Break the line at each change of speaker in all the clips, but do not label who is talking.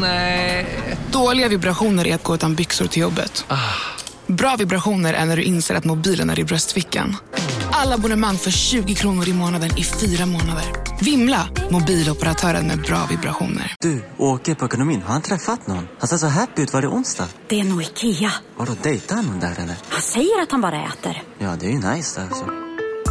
Nej.
Dåliga vibrationer är att gå utan byxor till jobbet. Bra vibrationer är när du inser att mobilen är i bröstfickan. Alla abonnemang för 20 kronor i månaden i fyra månader. Vimla! Mobiloperatören med bra vibrationer.
Du, åker på ekonomin. Har han träffat någon? Han ser så happy ut. Var det onsdag?
Det är nog Ikea.
Har du dejtat någon där eller?
Han säger att han bara äter.
Ja, det är ju nice där alltså.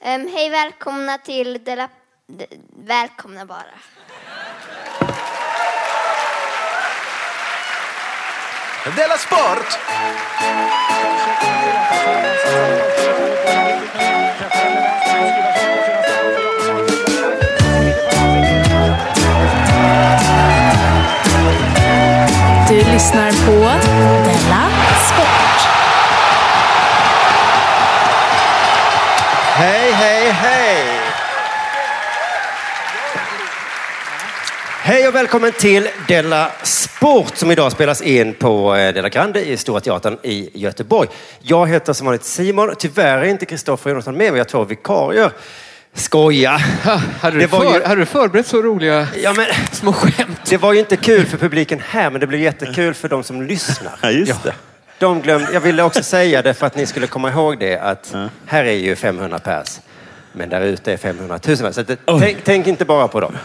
Ehm, hej, välkomna till Dela... De, välkomna bara.
Della Sport!
Du lyssnar på Della Sport.
Hej, hej, hej! Hej och välkommen till Della Sport som idag spelas in på eh, Della Grande i Stora Teatern i Göteborg. Jag heter som vanligt Simon. Tyvärr är inte Kristoffer och Jonathan med mig. Jag har två vikarier. Skoja!
Hade du,
Det var
för,
ju-
hade du förberett så roliga
Ja, men,
små skämt?
det var ju inte kul för publiken här, men det blev jättekul för de som lyssnar.
Ja, just det.
De glömde, jag ville också säga det för att ni skulle komma ihåg det att här är ju 500 pers. Men där ute är 500 000 pers. Så att, tänk, tänk inte bara på dem.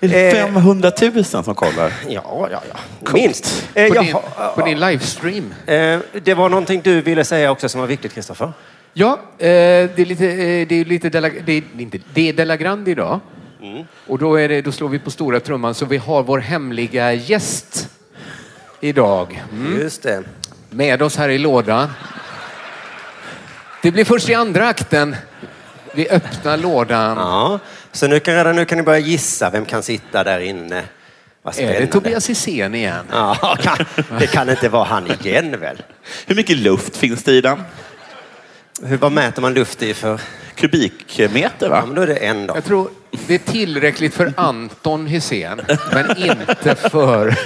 Är det
Eh.
500 000 som kollar?
Ja, ja, ja. Minst. Eh,
På
jag
din,
har-
på din livestream?
eh, det var någonting du ville säga också som var viktigt, Kristoffer.
Ja, eh, det är lite, eh, det är lite Della, det är, inte, det är Della Grande idag. Och då, är det, då slår vi på stora trumman så vi har vår hemliga gäst idag
Just det.
med oss här i lådan. Det blir först i andra akten vi öppnar lådan.
Ja. Så nu kan, redan nu kan ni börja gissa vem kan sitta där inne. Vad spännande.
Är det Tobias Hysén igen?
Ja, kan, det kan inte vara han igen väl?
Hur mycket luft finns det i den?
Hur, vad mäter man luft i för?
Kubikmeter,
Ja,
va?
men då är det en då.
Jag tror det är tillräckligt för Anton Hysén, men inte för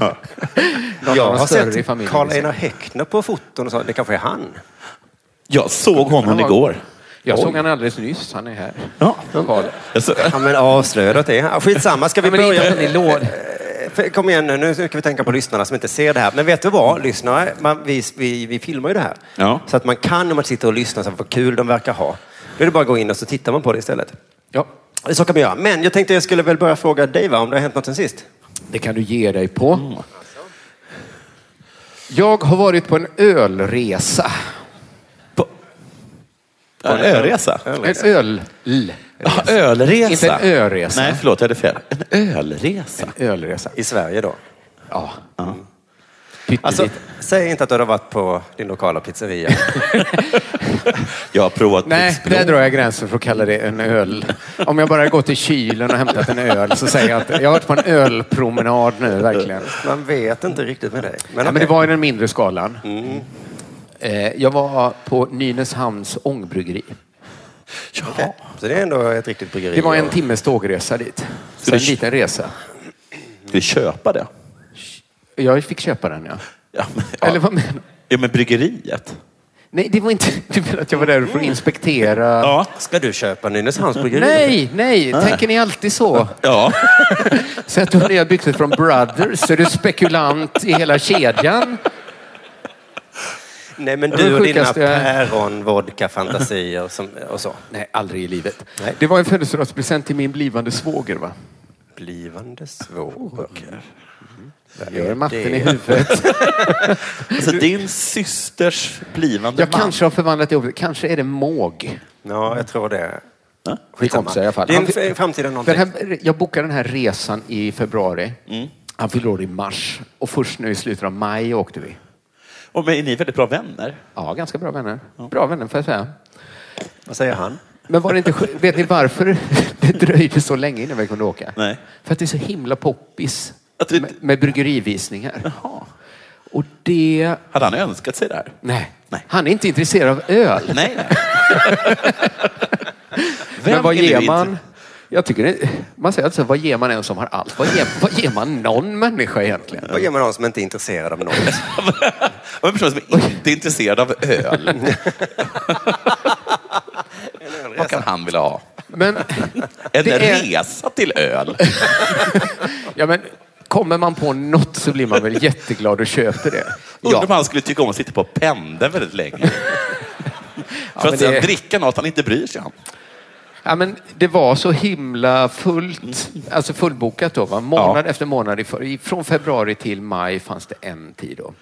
någon
Jag
annan
har
större i
sett
familjen.
Karl-Einar Häckner på foton och så. Det kanske är han.
Jag såg honom
Ja.
igår.
Jag
Oj.
såg han alldeles nyss. Han är här.
Ja.
Karl.
Jag såg...
Ja, men avslöja då att det är han. Ja, Skitsamma, ska vi
Ja, men det är
börja?
inte att han är låd.
Eh, Kom igen nu, nu ska vi tänka på lyssnarna som inte ser det här. Men vet du vad, lyssnare, man, vi, vi, vi filmar ju det här.
Ja.
Så att man kan, om man sitter och lyssnar, så vad kul de verkar ha. Då är det bara att gå in och så tittar man på det istället.
Ja,
Så kan man göra. Men jag tänkte jag skulle väl börja fråga dig va, om det har hänt något sen sist?
det kan du ge dig på.
Mm.
Jag har varit på en ölresa.
En ölresa?
En öl...
Ja, ölresa.
Inte en öresa.
Nej, förlåt, jag hade fel. En ölresa.
Ölresa.
I Sverige då?
Ja.
Ja.
Pyttelite.
Alltså, säg inte att du har varit på din lokala pizzeria.
Jag har provat
Nej,
Pixblom.
där drar jag gränsen för att kalla det en öl. Om jag bara gått till kylen och hämtat en öl så säger jag att jag har varit på en ölpromenad nu, verkligen.
Eh, Man vet inte riktigt med dig.
Men, ja, men det
okej.
var i den mindre skalan.
Mm.
Eh, Jag var på Nynäshamns ångbryggeri.
Okej. Så det är ändå ett riktigt bryggeri.
Det var en
Och-
timmes tågresa dit. Så en
du-
liten resa.
Ska vi köpa det?
Jag fick köpa den, ja.
Ja, men, ja.
Eller vad menar du?
ja, men bryggeriet.
Nej, det var inte... Du menar att jag var där för att inspektera?
Ja.
Ska du köpa Nynäshamns bryggeri?
Nej, nej,
Ah.
tänker ni alltid så?
Ja.
Sen att du har nya byxor från Brothers så är du spekulant i hela kedjan.
Nej, men
Det
du
var
och dina
sjukaste jag-
päron, vodka, fantasier som, och så.
Nej, aldrig i livet. Det var en födelsedagspresent till min blivande svåger. Va?
Blivande svåger.
Jag gör matten
det?
i huvudet.
Alltså, din systers blivande
Jag
man.
kanske har förvandlat ihop det. Kanske är det måg.
Ja, jag tror det.
Ja.
Vi kompisar i alla fall.
Din
Han
f-
fi-
framtida
Den
någonting. Mm.
här, jag bokade den här resan i februari. Han fyller år i mars. Och först nu i slutet av maj åkte vi.
Och men, är ni väldigt bra vänner?
Ja, ganska bra vänner. Bra vänner får jag säga.
Vad säger han?
Men var det inte, skö- vet ni varför det dröjde så länge innan vi kunde åka?
Nej.
För att det är så himla poppis med, med bryggerivisningar. Och det...
Hade han önskat sig det här?
Nej. Han är inte intresserad av öl.
Nej.
Men vad
är nu
ger
inte-
man? Jag tycker det, man säger alltså, vad ger man en som har allt? Vad ger, vad ger man någon människa egentligen?
Vad gör man någon som inte är intresserad av något?
Och en person som inte är intresserad av öl. Vad kan han vilja ha?
Men
En
Det är-
resa till öl.
Ja, men kommer man på något så blir man väl jätteglad och köper det.
Undrar om han skulle tycka om att sitta på pendeln väldigt länge. För
men
att sen
det-
dricka något han inte bryr sig om.
Ja, men det var så himla fullt, alltså fullbokat då. Va? Månad efter månad. i för- i- Från februari till maj fanns det en tid då.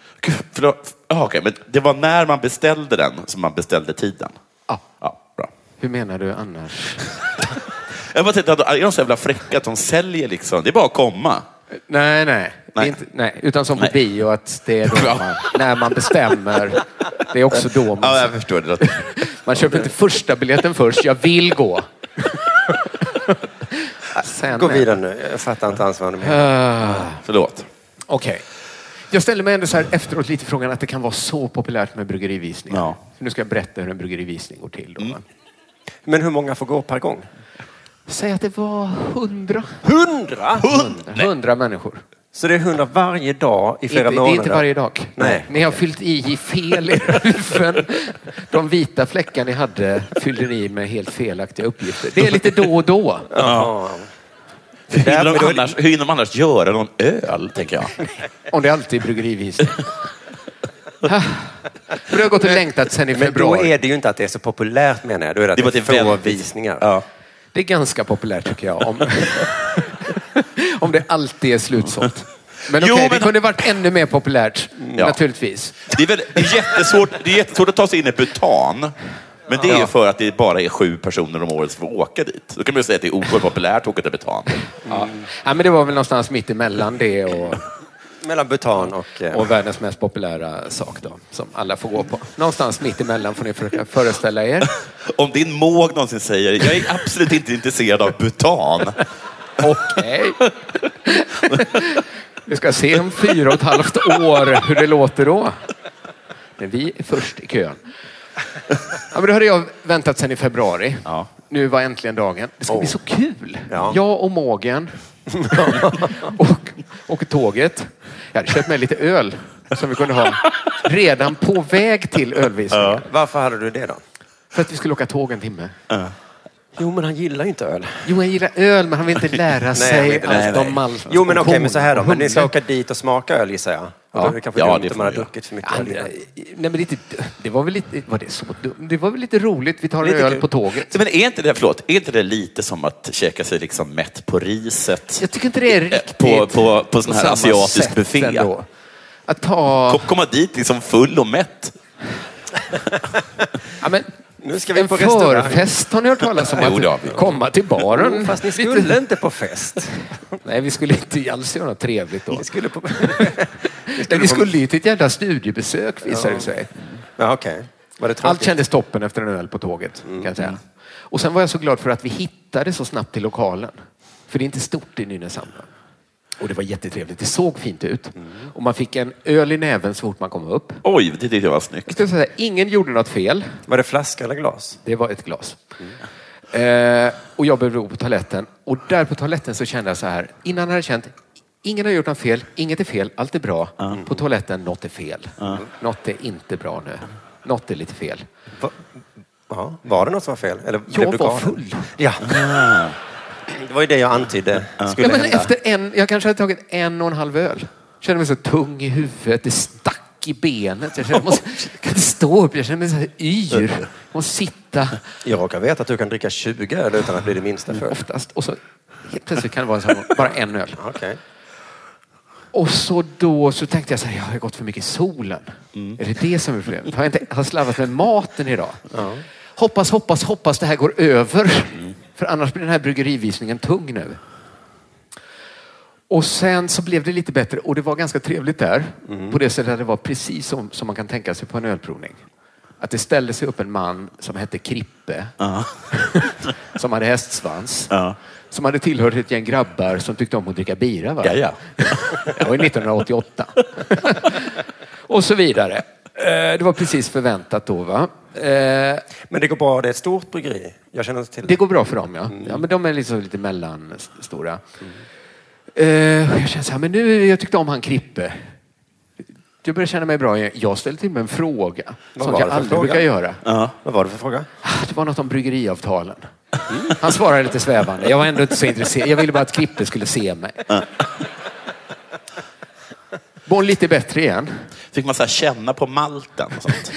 För då, ah, okej, men det var när man beställde den som man beställde tiden.
Ja.
Ja, bra.
Hur menar du annars?
Jag bara tänkte, att är de så jävla fräcka att de säljer liksom? Det är bara att komma.
Nej, nej. Det är
Nej.
inte, nej. Utan som på
Nej.
bio, att det är då man, när man bestämmer. Det är också då man...
Ja, jag förstår det.
Man köper inte första biljetten först. Jag vill gå. Sen, eh,
Gå vidare nu. Jag fattar inte alls vad du menar.
Förlåt.
Okej. Jag ställer mig ändå så här efteråt lite frågan att det kan vara så populärt med bryggerivisningar.
Ja. Mm.
Så nu ska jag berätta hur en bryggerivisning går till. Då. va?
Men hur många får gå per gång?
Säg att det var hundra.
Hundra!
Hundra människor.
Så det är hundra varje dag i
Inte,
flera
det är
månader?
inte varje dag.
Nej.
Ni har fyllt i i fel i ruffen. De vita fläckar ni hade fyllde ni i med helt felaktiga uppgifter. Det är lite då och då.
Hur hinner,
men då
de
är det-
annars, hur hinner de annars göra någon öl, tänker jag?
Om det alltid är bryggerivisning. Ah. Men det har gått och längtat sen i
Men då
februari.
är det ju inte att det är så populärt menar jag. Då är det att
Det är bara
det är
att det är
få
väldigt-
visningar.
Ja.
Det är ganska populärt tycker jag. Om, om det alltid är slutsålt. Men okej,
Jo,
det
men-
kunde varit ännu mer populärt.
Ja.
Naturligtvis.
Det är, väl, det, är jättesvårt, det är jättesvårt att ta sig in i Bhutan. Men det är
Ja.
för att det bara är sju personer om året som får åka dit. Då kan man ju säga att det är oerhört populärt att åka till Bhutan.
Ja, men det var väl någonstans mitt emellan det och,
Mellan Bhutan och... eh,
och världens mest populära sak då. Som alla får gå på. Någonstans mitt emellan får ni försöka föreställa er.
Om din måg någonsin säger jag är absolut inte intresserad av Bhutan.
Okej. Vi ska se om fyra och ett halvt år hur det låter då. Men vi är först i kön. Ja, men då hade jag väntat sedan i februari.
Ja. Oh.
Nu var äntligen dagen. Det ska bli så kul.
Ja.
Jag och mågen. och, och tåget. Jag hade köpt med lite öl som vi kunde ha redan på väg till ölvisningen.
Varför hade du det då?
För att vi skulle åka tåg en timme.
Jo, men han gillar ju inte öl.
Jo, han gillar öl, men han vill inte lära
han vill
sig
inte lära
allt
sig.
om malt.
Jo, men
och
okej, men så här då. Men ni ska
humle.
åka dit och smaka öl gissar jag. Ja. Då är det kanske
Ja,
dumt
det
om
får
man har
man göra.
druckit för mycket
Ja,
öl innan.
nej, men det, är inte- det var väl lite, var det så dumt? Det var väl lite roligt, vi tar en
Lite
öl
kul.
på tåget.
Men är inte det, förlåt, är inte det lite som att käka sig liksom mätt på riset? Eh,
Jag tycker inte det är riktigt
På, på, på sån här
samma
asiatisk
sätt
buffé.
ändå. Att ta...
Kom- Komma dit liksom full och mätt.
Ja, men,
Nu ska vi
en
på restaurang.
förfest har ni hört talas om?
Jo, det har
Att
vi.
komma till baren.
Jo, Fast ni
Lite-
skulle inte på fest.
Nej, vi skulle inte alls göra något trevligt då.
Ni skulle på...
Nej, vi skulle ju till ett jävla studiebesök visade det sig.
ja, okej. Var det
Allt
tråkigt?
kändes toppen efter en öl på tåget. Kan
Mm.
jag säga. Och sen var jag så glad för att vi hittade så snabbt till lokalen. För det är inte stort i Nynäshamn. va? Och det var jättetrevligt. Det såg fint ut. Och man fick en öl i näven så fort man kom upp.
Mm. Oj, det tyckte jag var
Jag
snyggt.
skulle säga, ingen gjorde något fel.
Var det flaska eller glas?
Det var ett glas. Eh, och jag behövde gå på toaletten. Och där på toaletten så kände jag så här. Innan hade jag känt, ingen har gjort något fel, inget är fel, allt är bra.
Mm.
På toaletten, något är fel. Något är inte bra nu. Något är lite fel.
Va... Ja. Var det något som var fel? Eller blev
Jag
du
var
galen?
full. Ah.
Ja. Det var ju det jag antydde skulle
Ja, men
hända.
efter en, jag kanske hade tagit en och en halv öl. Kände mig så tung i huvudet. Det stack i benet. Jag, kände, jag, måste, jag kan inte stå upp. Jag känner mig så här yr. Jag måste sitta
Jag råkar veta att du kan dricka 20 öl utan att bli det minsta full.
oftast. Och så helt plötsligt kan det vara så här, bara en öl.
Okej.
Och så då så tänkte jag så här, jag har gått för mycket i solen. Är det det som är problemet? Har jag inte har jag slarvat med maten idag? Hoppas, hoppas, hoppas det här går över. För annars blir den här bryggerivisningen tung nu. Och sen så blev det lite bättre
Mm.
och det var ganska trevligt där. På det sättet att det var precis som, som man kan tänka sig på en ölprovning. Att det ställde sig upp en man som hette Krippe, som hade hästsvans, som hade tillhört ett gäng grabbar som tyckte om att dricka bira. Va?
Ja, ja.
Det var ju 1988. Och så vidare. Eh, Det var precis förväntat då. Va? Eh,
Men det går bra, det är ett stort bryggeri. Jag känner inte till Mm.
det går bra för dem, ja. ja men de är liksom lite mellanstora. Eh, jag känner så här, men nu, jag tyckte om han Krippe. Jag börjar känna mig bra. igen. Jag ställde till med en fråga.
Vad
som
var
jag
det för
aldrig
fråga?
brukar göra.
Vad var det för fråga?
Ah, Det var något om bryggeriavtalen. Han svarade lite svävande. Jag var ändå inte så intresserad. Jag ville bara att Krippe skulle se mig. Mår lite bättre igen.
Fick man så här känna på malten och sånt?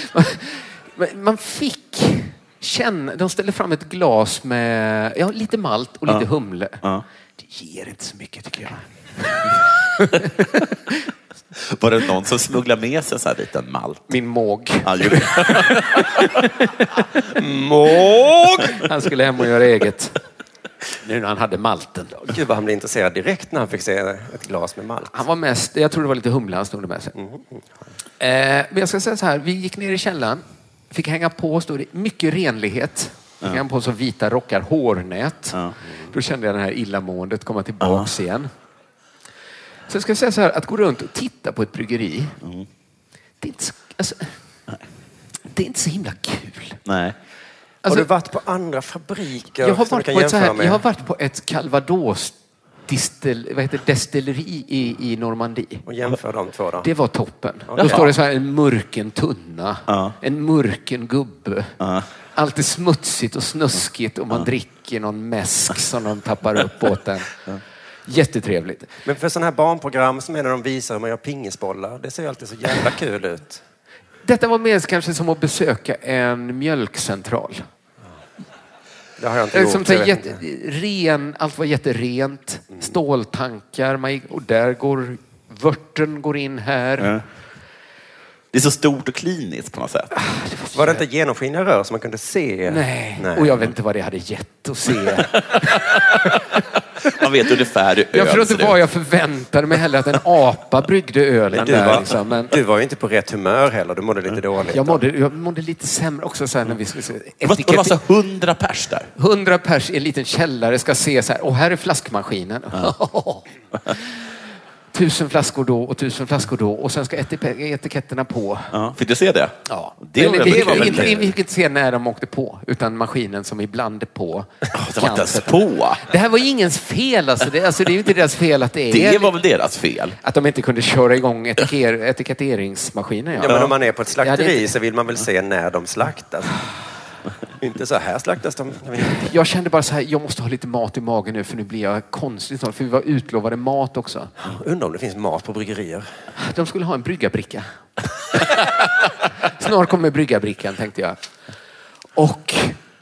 Men Man fick känna, de ställde fram ett glas med ja, lite malt och lite humle. Det ger inte så mycket tycker jag.
Var det någon som smugglade med sig en sån här liten malt?
Min måg.
Han gjorde-
Han skulle hem och göra eget. Nu när han hade malten.
Gud vad han blev intresserad direkt när han fick se ett glas med malt.
Han var mest, jag tror det var lite humle han snodde med sig.
Mm,
Eh, men jag ska säga så här, vi gick ner i källaren, fick hänga på, stod det mycket renlighet. Fick hänga på så vita rockar, hårnät. Då kände jag det här illamåendet komma tillbaks igen. Så jag ska säga så här, att gå runt och titta på ett bryggeri,
Mm.
det, är inte så, alltså, det är inte så himla kul.
Nej.
Alltså-
har du varit på andra fabriker?
Jag
som
har,
du
varit
kan
på ett så
jämföra
här,
med?
jag har varit på ett calvados distel, vad heter, det, destilleri i, i Normandie.
Och jämför de två då.
Det var toppen. Då står det så här, en mörken tunna, en mörken gubbe. Allt är smutsigt och snuskigt och man dricker någon mäsk som de tappar upp åt en. Jättetrevligt.
Men för sådana här barnprogram som är när de visar hur man gör pingisbollar, det ser ju alltid så jävla kul ut.
Detta var mer kanske som att besöka en mjölkcentral.
Det har jag inte
Det är
gjort.
Mm. Som så
jag
här
vet
jätte,
inte.
ren, allt var jätterent. Ståltankar. Man gick, och där går vörten går in här.
Det är så stort och kliniskt på något sätt.
Var det inte genomskinliga rör som man kunde se?
Nej. och jag vet inte vad det hade gett att se.
Man vet ungefär hur
Jag
öl
förstår
ser
inte
ut.
vad jag förväntade mig heller, att en apa bryggde ölen
Du var,
där. Liksom. Men
du var ju inte på rätt humör heller, du mådde lite dåligt.
jag, mådde, jag mådde lite sämre också. Så här, när vi, skulle se-
Det var- det var så
etikett,
hundra pers där.
100 pers i en liten källare ska se så här, och här är flaskmaskinen. tusen flaskor då och tusen flaskor då och sen ska etik- etiketterna på.
Fick du se det?
Ja.
Det var
Eller,
väl
det var
kul.
inte vi fick inte se när de åkte på, utan maskinen som ibland är på.
Det var inte ens
Kanske.
på.
Det här var ju ingens fel. Alltså. Det, alltså, det är ju inte deras fel att det är
Det var väl deras fel?
Att de inte kunde köra igång etiketter, etiketteringsmaskinen. Ja.
Ja, men om man är på ett
Ja, det är
slakteri
inte-
så vill man väl se när de slaktas. inte så här slaktas de. Jag vet inte.
Jag kände bara så här, jag måste ha lite mat i magen nu för nu blir jag konstigt snart. För vi var utlovade mat också.
Undrar om det finns mat på bryggerier.
De skulle ha en bryggarbricka. Snart kommer bryggarbrickan tänkte jag. Och,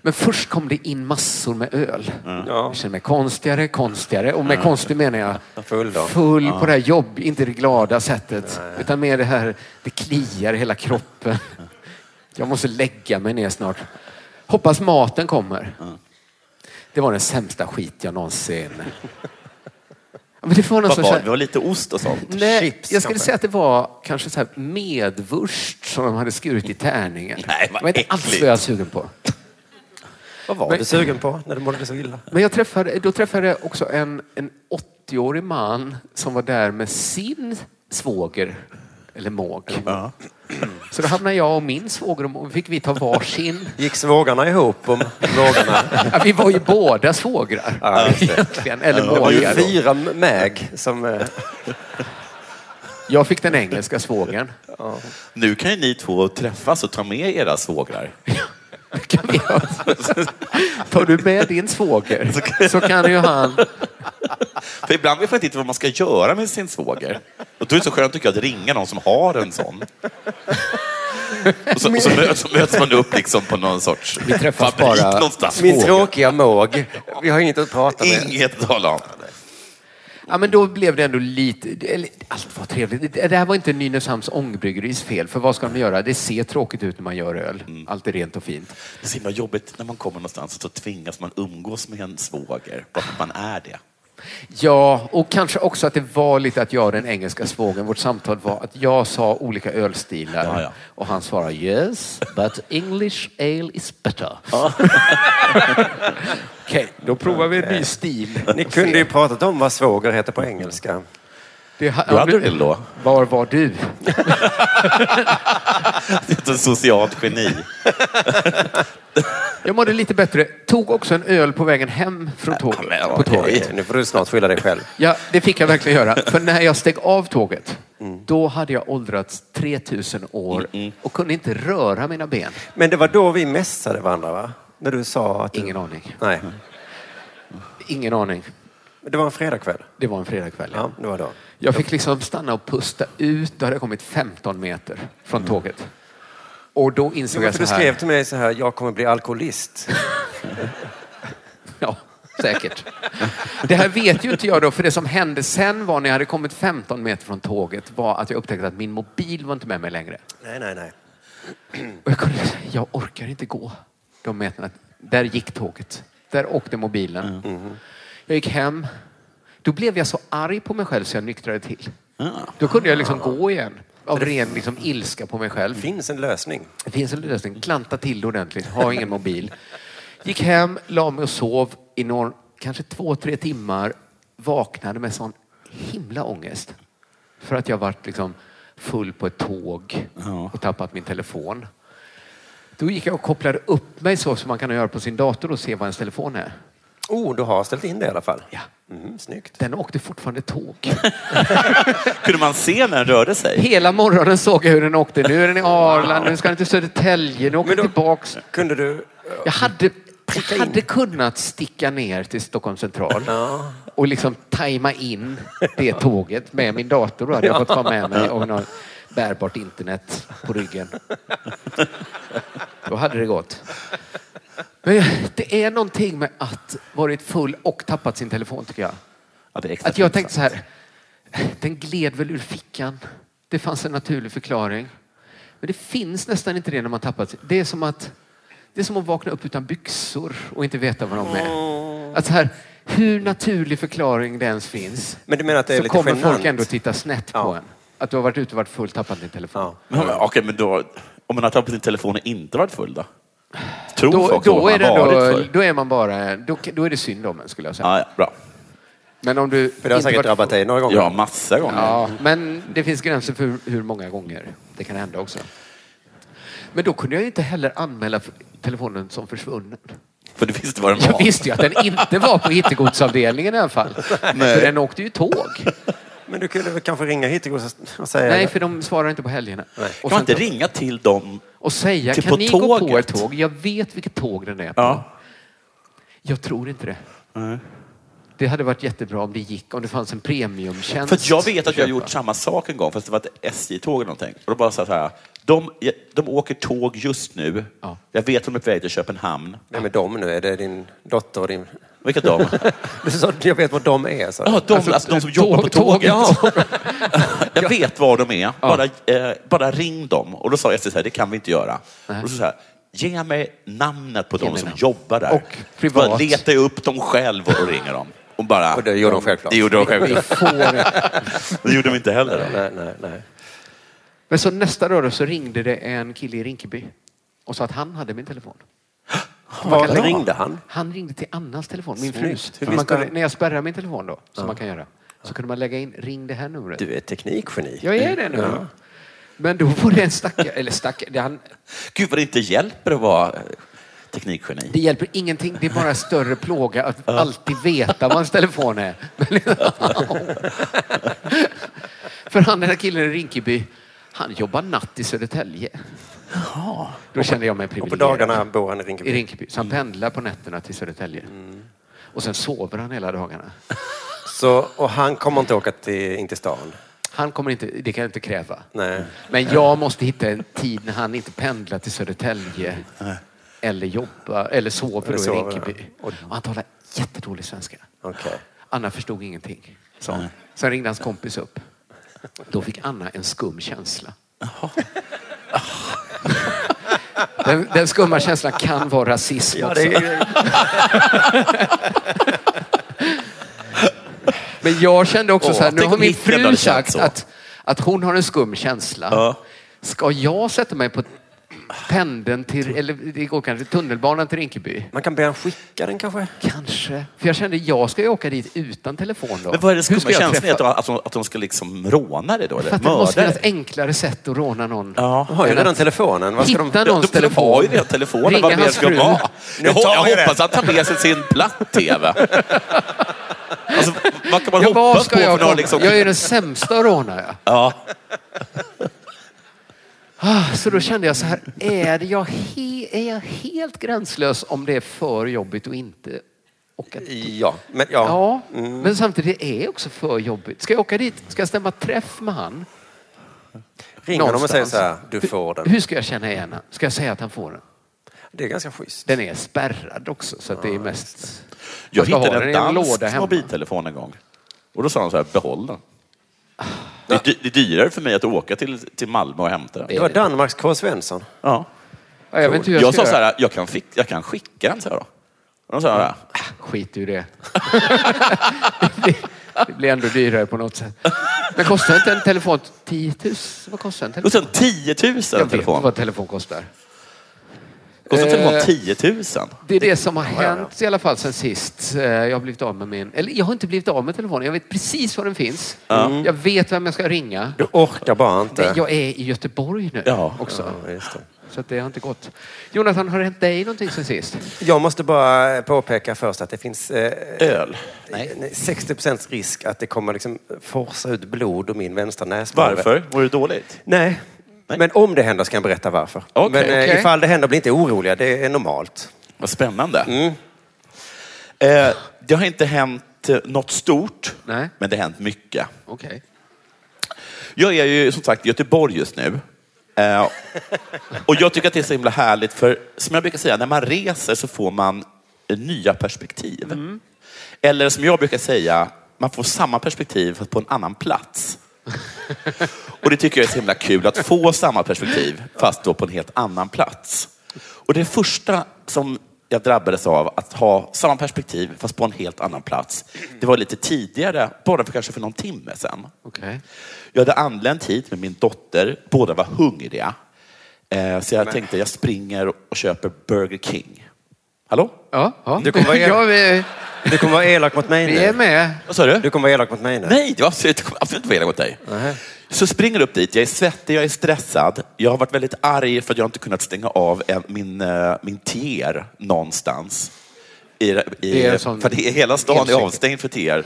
men först kom det in massor med öl. Jag kände mig konstigare, konstigare. Och med konstig menar jag
Full då.
full på det här jobb, inte det glada sättet. Utan mer det här, det kliar i hela kroppen. Jag måste lägga mig ner snart. Hoppas maten kommer. Det var den sämsta skit jag någonsin... Ja, Men det var någon
Vad
sorts
var
så
det? Det var lite ost och sånt.
Nej,
Chips,
jag skulle
kanske.
säga att det var kanske så här medvurst som de hade skurit i tärningen.
Nej, vad
det var inte alls
äckligt.
vad jag var sugen på.
Vad var
Men-
du sugen på när du mådde så illa?
Men jag träffade, då träffade jag också en, en 80-årig man som var där med sin svåger, eller måg. Så då hamnade jag och min svåger och måg, fick vi ta varsin.
Gick svågarna ihop om någorna?
Ja, vi var ju båda svågrar. Egentligen, eller
Det var ju
mågar. då.
fyra mäg som... eh,
Jag fick den engelska svågern.
Nu kan ju ni två träffas och ta med era svågrar.
kan vi göra. Tar du med din svåger så kan ju han...
För ibland vet man inte vad man ska göra med sin svåger. Och då är det så skönt tycker jag att ringa någon som har en sån. Och så, och så, möts, så möts man upp liksom på någon sorts
Vi träffas
fabrik
bara-
någonstans.
Min tråkiga måg. Vi har inget att prata med.
Inget att tala om.
Ja, men då blev det ändå lite... Eller, allt var trevligt. Det det här var inte Nynäshamns ångbryggeris fel, för vad ska de göra? Det ser tråkigt ut när man gör öl. Allt är rent och fint.
Det är så himla jobbigt när man kommer någonstans och så tvingas man umgås med en svåger. Bara för att man är det.
Ja, och kanske också att det var lite att jag och den engelska svågen, vårt samtal var att jag sa olika ölstilar
Ja, ja.
och han svarade yes, but English ale is better. Okej, då provar vi en ny stil.
Ni kunde ju pratat om vad svåger heter på engelska.
Det, ha-
Du hade väl då?
Var var du?
Det är ett socialt geni.
Jag mådde lite bättre. Tog också en öl på vägen hem från
Äh,
tåget.
men,
på
okej.
tåget.
Nu får du snart skylla dig själv.
Ja, det fick jag verkligen göra. För när jag steg av tåget,
Mm.
då hade jag åldrats 3000 år och kunde inte röra mina ben.
Men det var då vi mässade varandra, va? När du sa att du...
Ingen aning.
Nej.
Ingen aning.
Det var en fredagkväll.
Det var en fredagkväll.
Ja, det var då.
Jag fick liksom stanna och pusta ut. Då hade jag kommit 15 meter från tåget. Och då insåg jag
Mm. För du
så här.
skrev till mig så här, jag kommer bli alkoholist.
Ja, säkert. Det här vet ju inte jag då, för det som hände sen var när jag hade kommit 15 meter från tåget var att jag upptäckte att min mobil var inte med mig längre.
Nej, nej, nej.
Och jag, kunde, jag orkar inte gå de meterna. Där gick tåget. Där åkte mobilen. Jag gick hem. Då blev jag så arg på mig själv så jag nyktrade till. Då kunde jag liksom gå igen. Av ren liksom, ilska på mig själv.
Finns en lösning.
Det finns en lösning. Klanta till det ordentligt. Ha ingen mobil. Gick hem, la mig och sov i någon, kanske två, tre timmar. Vaknade med sån himla ångest. För att jag varit liksom full på ett tåg och tappat min telefon. Då gick jag och kopplade upp mig så som man kan göra på sin dator och se vad ens telefon är.
Oh, du har ställt in det i alla fall.
Ja.
Mm, snyggt.
Den åkte fortfarande tåg.
Kunde man se när den rörde sig?
Hela morgonen såg jag hur den åkte. Nu är den i Arlanda, nu ska den till Södertälje, nu åker den tillbaks.
Kunde du...
Jag hade, jag hade kunnat sticka ner till Stockholm central och liksom tajma in det tåget med min dator. Då hade jag fått vara med mig och något bärbart internet på ryggen. Då hade det gått. Men det är någonting med att varit full och tappat sin telefon tycker jag.
Ja, det är extra
Att jag tänkte
pinsamt.
så här, den gled väl ur fickan. Det fanns en naturlig förklaring. Men det finns nästan inte det när man tappat Det är som att, det är som att vakna upp utan byxor och inte veta vad de är. Att så här, hur naturlig förklaring det ens finns
Men du menar att det är
så
lite
kommer
genant?
folk ändå titta snett på
Ja.
en. Att du har varit ute och varit full, tappat din telefon.
Ja.
Men, men, okej, men då, om man har tappat sin telefon och inte varit full då? Tror
Då,
folk
då, är
vad
det
man har varit
då,
full?
då är man bara, då, då är det synd om en skulle jag säga.
Ja, ja, bra.
Men om du
För det har
inte
säkert
varit
drabbat dig några gånger.
Ja, massa gånger.
Ja, men det finns gränser för hur många gånger det kan hända också. Men då kunde jag ju inte heller anmäla f- telefonen som försvunnen.
För du visste vad den var.
Jag visste ju att den inte var på hittegodsavdelningen i alla fall. För den åkte ju tåg.
Men du kunde väl kanske ringa hit och s- och säga...
Nej, för de svarar inte på helgerna. Och,
Kan man
sen,
inte ringa till dem?
och säga,
till
kan
på
ni gå på
tåget?"
ett tåg? Jag vet vilket tåg den är på.
Ja.
Jag tror inte det. Det hade varit jättebra om det gick, om det fanns en premiumtjänst.
För att jag vet att jag har
köpa.
gjort samma sak en gång, fast det var ett SJ-tåg eller någonting. Och då bara så här, de, de åker tåg just nu.
Ja.
Jag vet att de är på väg till Köpenhamn.
Vem är de nu? Är det din dotter och din...
Vilka de?
Du sa, jag vet vad de är, sa du.
Ja, de, alltså, de som jobbar på tåget. jag vet var de är. Bara, eh, bara ring dem. Och då sa SJ så här, det kan vi inte göra. Och så så här, ge mig namnet på de
mig
som
namn.
jobbar där.
Och privat.
Bara leta upp dem själv och ringer dem. Och, bara,
Och det gjorde de självklart.
Det gjorde de självklart.
Får
Det gjorde de inte heller. Då.
Nej, nej, nej.
Men så nästa rörelse så ringde det en kille i Rinkeby och sa att han hade min telefon.
Var ringde han?
Han ringde till Annas telefon, min frus.
Snyggt. Hur
För Man
visste
kunde,
han?
när jag spärrar min telefon då, som man kan göra, så kunde man lägga in ring det här numret.
Du är teknikgeni.
Jag är det nu. Men då var det en stackare, eller stackare, det, han,
Gud vad det inte hjälper att vara eh, teknikgeni.
det hjälper ingenting, det är bara större plåga att alltid veta vad ens telefon är. Men- För han den här killen i Rinkeby, han jobbar natt i Södertälje. Då kände jag mig
Och på
privilegierad.
dagarna bor han i
i
Rinkeby. Mm.
Rinkeby. Så han pendlar på nätterna till Södertälje. Och sen sover han hela dagarna.
Så, och han kommer inte åka till, in till stan?
Han kommer inte, det kan jag inte kräva.
Nej.
Men jag måste hitta en tid när han inte pendlar till Södertälje. Eller jobbar, eller sover
Eller
då i
sover,
Rinkeby. Och han talar jättedålig svenska.
Okej.
Anna förstod ingenting. Så. Sen ringde hans kompis upp. Då fick Anna en skum känsla. Den, den skumma känslan kan vara rasism också. Men jag kände också
Åh,
så här, nu
tänk
har
om
min
Hitler hade
fru
känt
sagt
så.
att, att hon har en skum känsla.
Ja.
Ska jag sätta mig på pendeln till, eller det går kanske tunnelbanan till Rinkeby?
Man kan be han skicka den kanske?
Kanske. För jag kände, jag ska ju åka dit utan telefon då.
Men vad är det
Hur
skumma
ska jag
känslan i att de,
träffa-
att, de, att de ska liksom råna dig då? Eller
Fattar, Det måste
mörda
finnas
dig?
enklare sätt att råna någon.
Ja.
De har ju redan telefonen. Vad ska de...
Hitta
De, de,
någons
de
telefon.
har ju redan telefonen.
Ringa
Vad mer
hans
ska de
fru.
ha?
Nu
Jag, ho-
tar vi
jag
det.
hoppas att han tar med sig sin platt-tv. Alltså, vad kan man
Ja, vad
hoppas på
ska
för
jag komma?
någon liksom?
Jag är den sämsta att råna. Ja.
Ja.
Ah, Så då kände jag så här, är jag, he- är jag helt gränslös om det är för jobbigt och inte? Och att,
Ja, men ja.
ja, men samtidigt är det också för jobbigt. Ska jag åka dit? Ska jag stämma träff med han?
Ringer honom och säger
någonstans?
så här, du får den.
Hur ska jag känna igen han? Ska jag säga att han får den?
Det är ganska schysst.
Den är spärrad också så att det är mest...
Jag
ska ha
hittade
den
en
i en
dansk
låda hemma.
mobiltelefon en gång. Och då sa de så här, behåll den. Det är, dy- det är dyrare för mig att åka till, till Malmö och hämta den.
Det var Danmarks K. Svensson.
Ja.
Ja, jag vet inte hur
Jag,
jag, ska
sa så
göra.
här, jag kan, fick, jag kan skicka den, sa jag då. Och de sa, ja.
Skit i det. det. Det blir ändå dyrare på något sätt. Men kostar inte en telefon 10 000? Vad kostar en
och sen
telefon?
10 000
Jag vet inte
telefon.
vad telefon kostar.
Kostar
Eh.
telefon 10 000?
Det är det som har hänt i alla fall sen sist. Eh, Jag har blivit av med min... Eller jag har inte blivit av med telefonen. Jag vet precis var den finns. Mm. Jag vet vem jag ska ringa.
Du orkar bara inte.
Men Jag är i Göteborg nu
Ja.
också.
Ja, just det.
Så att det har inte gått. Jonathan, har det hänt dig någonting sen sist?
Jag måste bara eh, påpeka först att det finns eh,
Öl?
Nej. 60 risk att det kommer liksom forsa ut blod ur min vänstra näsborre.
Varför? Var det dåligt?
Nej. Men om det händer ska jag berätta varför.
Okej.
Men eh,
Okej.
ifall det händer, bli inte oroliga. Det är normalt.
Vad spännande. Eh, det har inte hänt eh, något stort,
Nej.
men det har hänt mycket.
Okej.
Jag är ju som sagt i Göteborg just nu. Eh, och jag tycker att det är så himla härligt för som jag brukar säga, när man reser så får man eh, nya perspektiv. Eller som jag brukar säga, man får samma perspektiv fast på en annan plats. och det tycker jag är så himla kul att få samma perspektiv fast då på en helt annan plats. Och det första som jag drabbades av att ha samma perspektiv fast på en helt annan plats. Det var lite tidigare, bara för kanske för någon timme sedan.
Okej.
Jag hade anlänt hit med min dotter. Båda var hungriga. Eh, så jag tänkte jag springer och köper Burger King. Hallå?
Ja, ja.
Du kommer vara-
ja vi,
Du kommer vara elak mot mig
vi är
nu.
med.
Vad sa du?
Du kommer vara elak mot mig nu.
Nej, det var absolut, det kommer absolut inte vara elak mot dig. Så springer upp dit. Jag är svettig, jag är stressad. Jag har varit väldigt arg för att jag inte kunnat stänga av en, min, eh, min tier någonstans. I,
Det
i,
är en sån-
för det är hela stan är
elcykel.
avstängd för tier.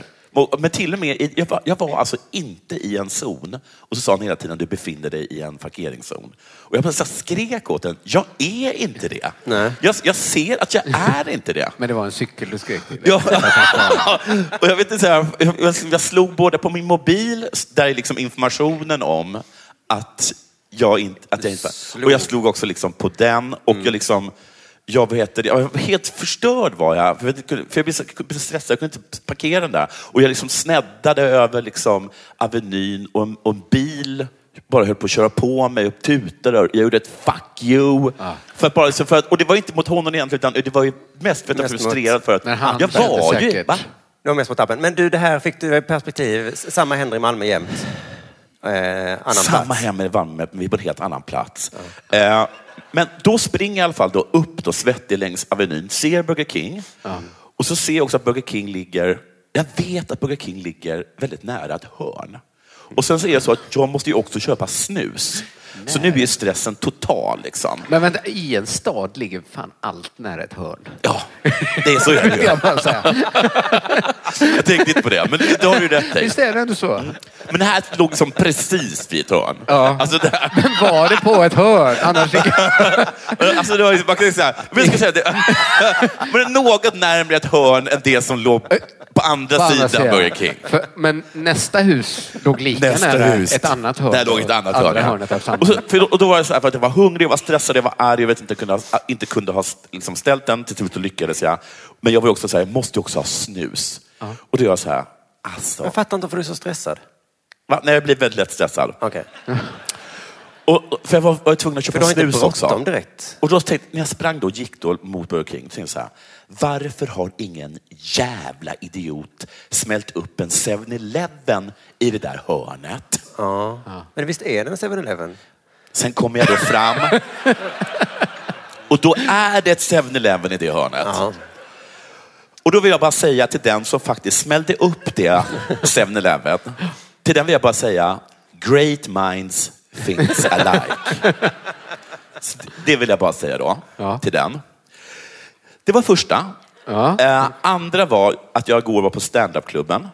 Men till och med, i- jag var, jag var alltså inte i en zon. Och så sa han hela tiden, du befinner dig i en parkeringszon. Och jag bara så här skrek åt den, jag är inte det.
Nej.
Jag, jag ser att jag är inte det.
Men det var en cykel du skrek till.
Ja. och jag, vet inte, så här, jag, jag- jag slog både på min mobil, s- där är liksom informationen om att jag inte... Att jag inte och jag slog också liksom på den. Och
Mm.
jag liksom... Jag, vad heter det, jag var helt förstörd var jag. För jag, kunde- för jag blev så jag blev så stressad, jag kunde inte parkera den där. Och jag liksom sneddade över liksom Avenyn och en, och en bil bara höll på att köra på mig och tutade. och Jag gjorde ett fuck you.
Ah.
För att bara, så för att, och det var inte mot honom egentligen, utan det var ju mest för att jag var
Mest mot-
frustrerad för att
Men han
jag
kände
var ju...
säkert.
Va?
Det var mest mot appen. Men du, det här fick du i perspektiv. S- Samma händer i Malmö jämt. Eh, annan
Samma
plats.
hem i Malmö, men vi är på en helt annan plats. Eh, men då springer jag i alla fall då upp då, svettig längs Avenyn, ser Burger King. Och så ser jag också att Burger King ligger, jag vet att Burger King ligger väldigt nära ett hörn. Och sen så är det så att jag måste ju också köpa snus. Så nu är stressen total liksom.
Men vänta, i en stad ligger fan allt nära ett hörn.
Ja, det är så jag
Det vill
gör.
jag bara säga.
Jag tänkte inte på det, men det har du ju rätt i.
Visst är det ändå så?
Men det här låg liksom precis vid ett hörn.
Ja.
Alltså, det här,
Men var det på ett hörn? Annars
Alltså det var ju, man kan ju säga, men jag ska säga det, men något närmare ett hörn än det som låg på andra
På andra
sidan
sidan.
Burger King.
För, men nästa hus låg lika nära ett annat hörn.
Där låg ett annat
Andra
hörn. ja.
hörnet av samma.
och, så, för då, och då var det så här, för att jag var hungrig, jag var stressad, jag var arg, jag vet inte, kunde, ha- inte kunde ha liksom, ställt den. Till slut så lyckades jag. Men jag var ju också så här, jag måste ju också ha snus. Och då gör jag så här, alltså.
Jag fattar inte varför du är så stressad.
Va? Nej, jag blir väldigt lätt stressad.
Okej.
Och, för jag var, var tvungen att köpa
För du har inte
snus också.
bråttom direkt.
Och då tänkte, när jag sprang då, gick då mot Burger King, tänkte jag så här, varför har ingen jävla idiot smält upp en 7-Eleven i det där hörnet?
Ja. Men visst är det en 7-Eleven?
Sen kommer jag då fram och då är det ett 7-Eleven i det hörnet.
Ja.
Och då vill jag bara säga till den som faktiskt smällde upp det 7-Eleven, till den vill jag bara säga, great minds things alike. Så det vill jag bara säga då,
Ja.
till den. Det var första.
Ja.
Eh, andra var att jag igår var på standupklubben.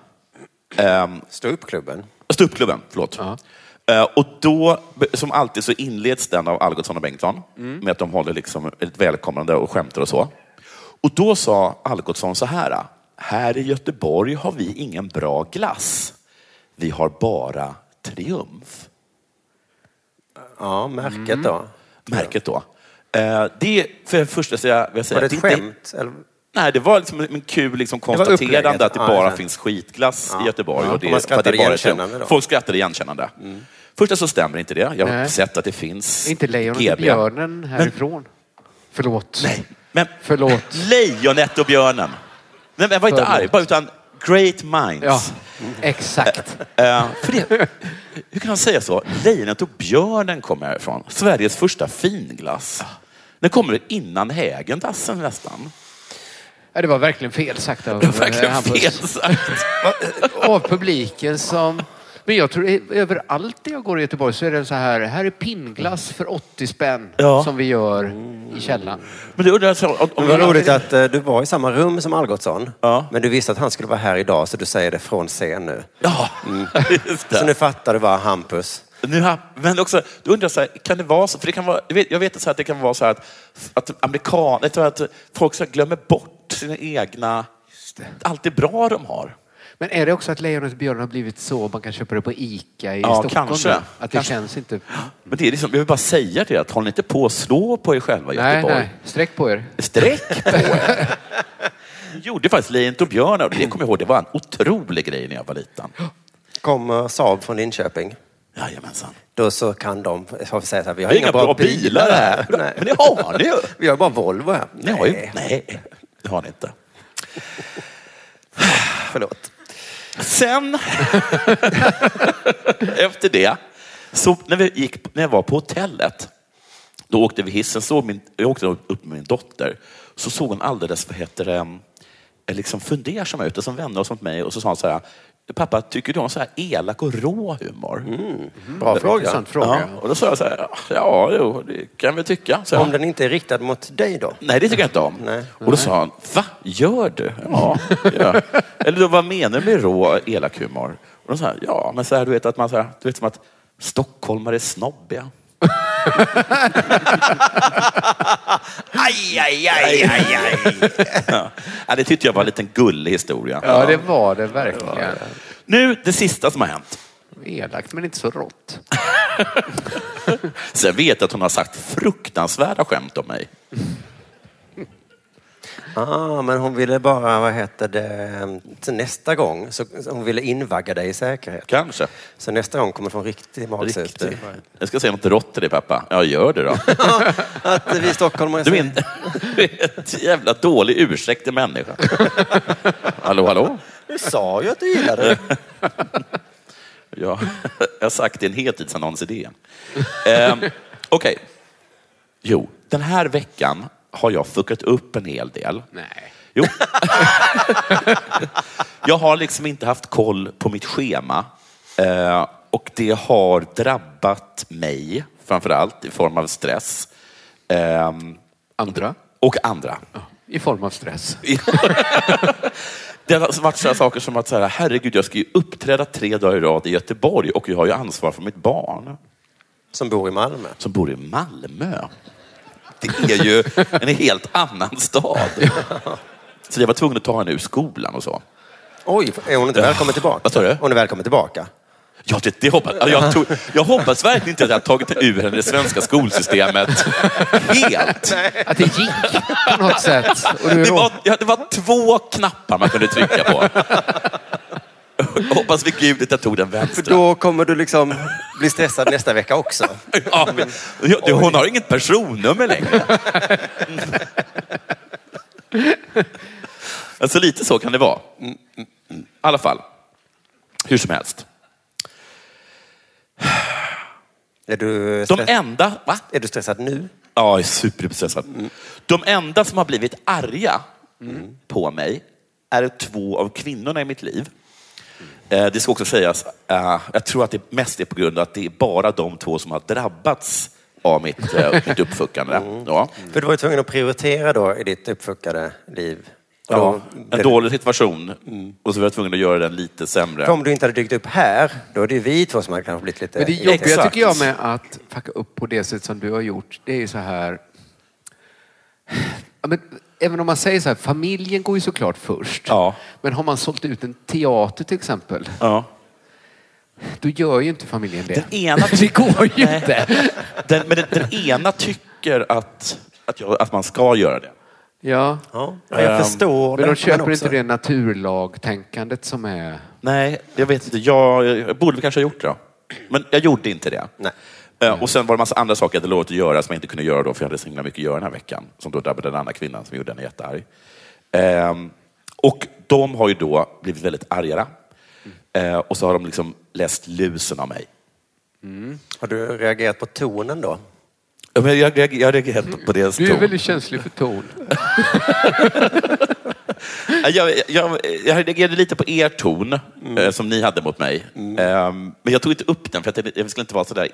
Eh,
Stå upp klubben.
Ståuppklubben, förlåt. Eh, Och då, som alltid, så inleds den av Algotsson och Bengtsson med att de håller liksom ett välkomnande och skämtar och så. Och då sa Algotsson så här. Här i Göteborg har vi ingen bra glass. Vi har bara Triumf.
Ja, märket då.
Märket då. Eh, Det för det första vill jag vill säga...
Var det
att
ett
inte-
skämt? Eller,
Nej, det var liksom en kul liksom
var upplägget.
konstaterande att det
Ja,
bara
ja.
finns skitglass i Göteborg.
Ja,
Och det,
och man
för att det
skrattade
bara är
igenkännande
Triumf.
då. Mm.
Folk skrattade igenkännande. Första så stämmer inte det. Jag har
Nej.
sett att det finns
Inte lejonet och
GB.
björnen härifrån. Förlåt.
Nej, men
Förlåt.
lejonet och björnen. Nej, men jag var inte
Förlåt.
arg, bara utan great minds.
Ja, exakt.
Eh, för det, hur kan han säga så? Lejonet och björnen kommer härifrån. Sveriges första finglass. Den kommer innan Hägendassen nästan.
Ja, det var verkligen fel sagt av eh,
Det var verkligen
Hampus.
fel sagt.
Av publiken som... Men jag tror i- överallt där jag går i Göteborg så är det så här, här är pinnglass för 80 spänn
Ja.
som vi gör i källaren.
Men du undrar jag så, om- om
det var roligt att eh, du var i samma rum som Algotsson.
Ja.
Men du visste att han skulle vara här idag, så du säger det från scen nu.
Ja, just
Mm. Så nu
det.
fattar du vad Hampus...
Nu har, men också, då undrar jag så här, kan det vara så? För det kan vara, jag vet, jag vet så här, att det kan vara så här att, att amerikaner, att folk så här glömmer bort sina egna, allt det bra de har.
Men är det också att lejonet och björnen har blivit så man kan köpa det på ICA i
Ja,
Stockholm?
kanske.
nu? Att det
Kanske.
känns inte...
Men det är liksom, jag vill bara säga det, att håll inte på att slå på er själva i
Nej,
Göteborg.
nej. Sträck på er.
Sträck på er. Jag gjorde faktiskt Lejonet och björnen och det kommer jag ihåg, det var en otrolig grej när jag var liten.
Kommer Saab från Linköping,
Jajamensan.
då så kan de... Jag får säga så här, vi
Jag
har inga bra, bilar här. Nej.
Men det har ni ju.
Vi har bara Volvo här.
Ni har ju. Nej, det har ni inte.
Förlåt.
Sen, efter det, så när, vi gick, när jag var på hotellet, då åkte vi hissen, såg min, jag åkte upp med min dotter, så såg hon alldeles, vad heter det, eh, liksom fundersam ut, och som vände oss mot mig och så sa hon så här, pappa, tycker du om så här elak och rå humor?
Bra fråga.
Intressant fråga.
Mm. Ja, och då sa jag så här, ja, jo, det kan vi tycka. Så jag,
Om den inte är riktad mot dig då?
Nej, det tycker jag inte om.
Nej.
Och då sa han, va? Gör du? Ja, det gör jag. Eller då, vad menar du med rå elak humor? Och då sa han, ja, men så här, du vet att man så här, du vet som att stockholmare är snobbiga. aj, aj, aj, aj, aj. Ja. Ja, det tyckte jag var en liten gullig historia.
Ja, det var det verkligen.
Nu, det sista som har hänt.
Elakt, men inte så rått.
Sen vet jag att hon har sagt fruktansvärda skämt om mig.
Ah, men hon ville bara, vad heter det, till nästa gång, så så hon ville invagga dig i säkerhet.
Kanske.
Så nästa gång kommer från riktig typ. magsute.
Riktigt. Jag ska säga något rått till dig pappa. Ja, gör det då.
Att vi stockholmare...
Du är en ett jävla dålig ursäkt till människa. Hallå, hallå?
Du sa ju att du gillade det.
Ja, jag har sagt det i en heltidsannons i DN. Eh, Okej. Jo, den här veckan har jag fuckat upp en hel del.
Nej.
Jo. jag har liksom inte haft koll på mitt schema. Eh, och det har drabbat mig, framför allt i form av stress. Eh,
Andra?
och andra.
I form av stress.
Det har varit sådana saker som att så här, herregud, jag ska ju uppträda tre dagar i rad i Göteborg och jag har ju ansvar för mitt barn
Som bor i Malmö.
som bor i Malmö. Det är ju en helt annan stad. Så jag var tvungen att ta henne ur skolan och så.
Oj, är hon inte välkommen tillbaka?
Vad sa du?
Hon är välkommen tillbaka.
Ja, det, det hoppas, alltså, jag, tog, jag hoppas verkligen inte att jag har tagit ur henne det svenska skolsystemet helt.
Att det gick på något sätt. Och du
Det var,
rått.
ja, det var två knappar man kunde trycka på. Jag hoppas vid gud att jag tog den
För
vänstra.
då kommer du liksom bli stressad nästa vecka också.
Ja, men, ja, du, hon har inget personnummer längre. alltså lite så kan det vara. I alla fall, hur som helst.
Är du,
De
stress...
enda, va?
är du stressad nu?
Ja, jag är superstressad. De enda som har blivit arga på mig är två av kvinnorna i mitt liv. Eh, Det ska också sägas, eh, jag tror att det mest är på grund av att det är bara de två som har drabbats av mitt, eh, mitt uppfuckande. Ja.
För du var ju tvungen att prioritera då i ditt uppfuckade liv. Och
Ja,
då blev
en
det-
dålig situation
Mm.
och så var jag tvungen att göra den lite sämre.
För om du inte hade dykt upp här, då är det ju vi två som hade kanske blivit lite...
Men det jobbiga
Exakt.
tycker jag med att packa upp på det sätt som du har gjort, det är ju så här... Ja, men, även om man säger så här, familjen går ju såklart först.
Ja.
Men har man sålt ut en teater till exempel,
Ja.
då gör ju inte familjen det.
Den ena
Det går ju
Nej.
inte.
Den, men den, den ena tycker att, att, jag, att man ska göra det.
Ja.
Ja, jag förstår
Men
det,
de köper
också-
inte det naturlagtänkandet som är...
Nej, jag vet inte. Jag, jag borde väl kanske ha gjort det. Men jag gjorde inte det.
Nej.
Eh, Och sen var det massa andra saker jag hade lovat att göra som jag inte kunde göra då, för jag hade så himla mycket att göra den här veckan. Som då drabbade den andra kvinnan som gjorde henne jättearg. Ehm, och de har ju då blivit väldigt argare.
Mm.
Eh, och så har de liksom läst lusen av mig.
Har du reagerat på tonen då?
Ja, men Jag, jag, jag reagerar helt på deras
Du är
ton.
väldigt känslig för ton.
Jag, jag, jag, jag reagerade lite på er ton
Mm.
eh, som ni hade mot mig. Ehm, men jag tog inte upp den för jag, tänkte, jag skulle inte vara sådär,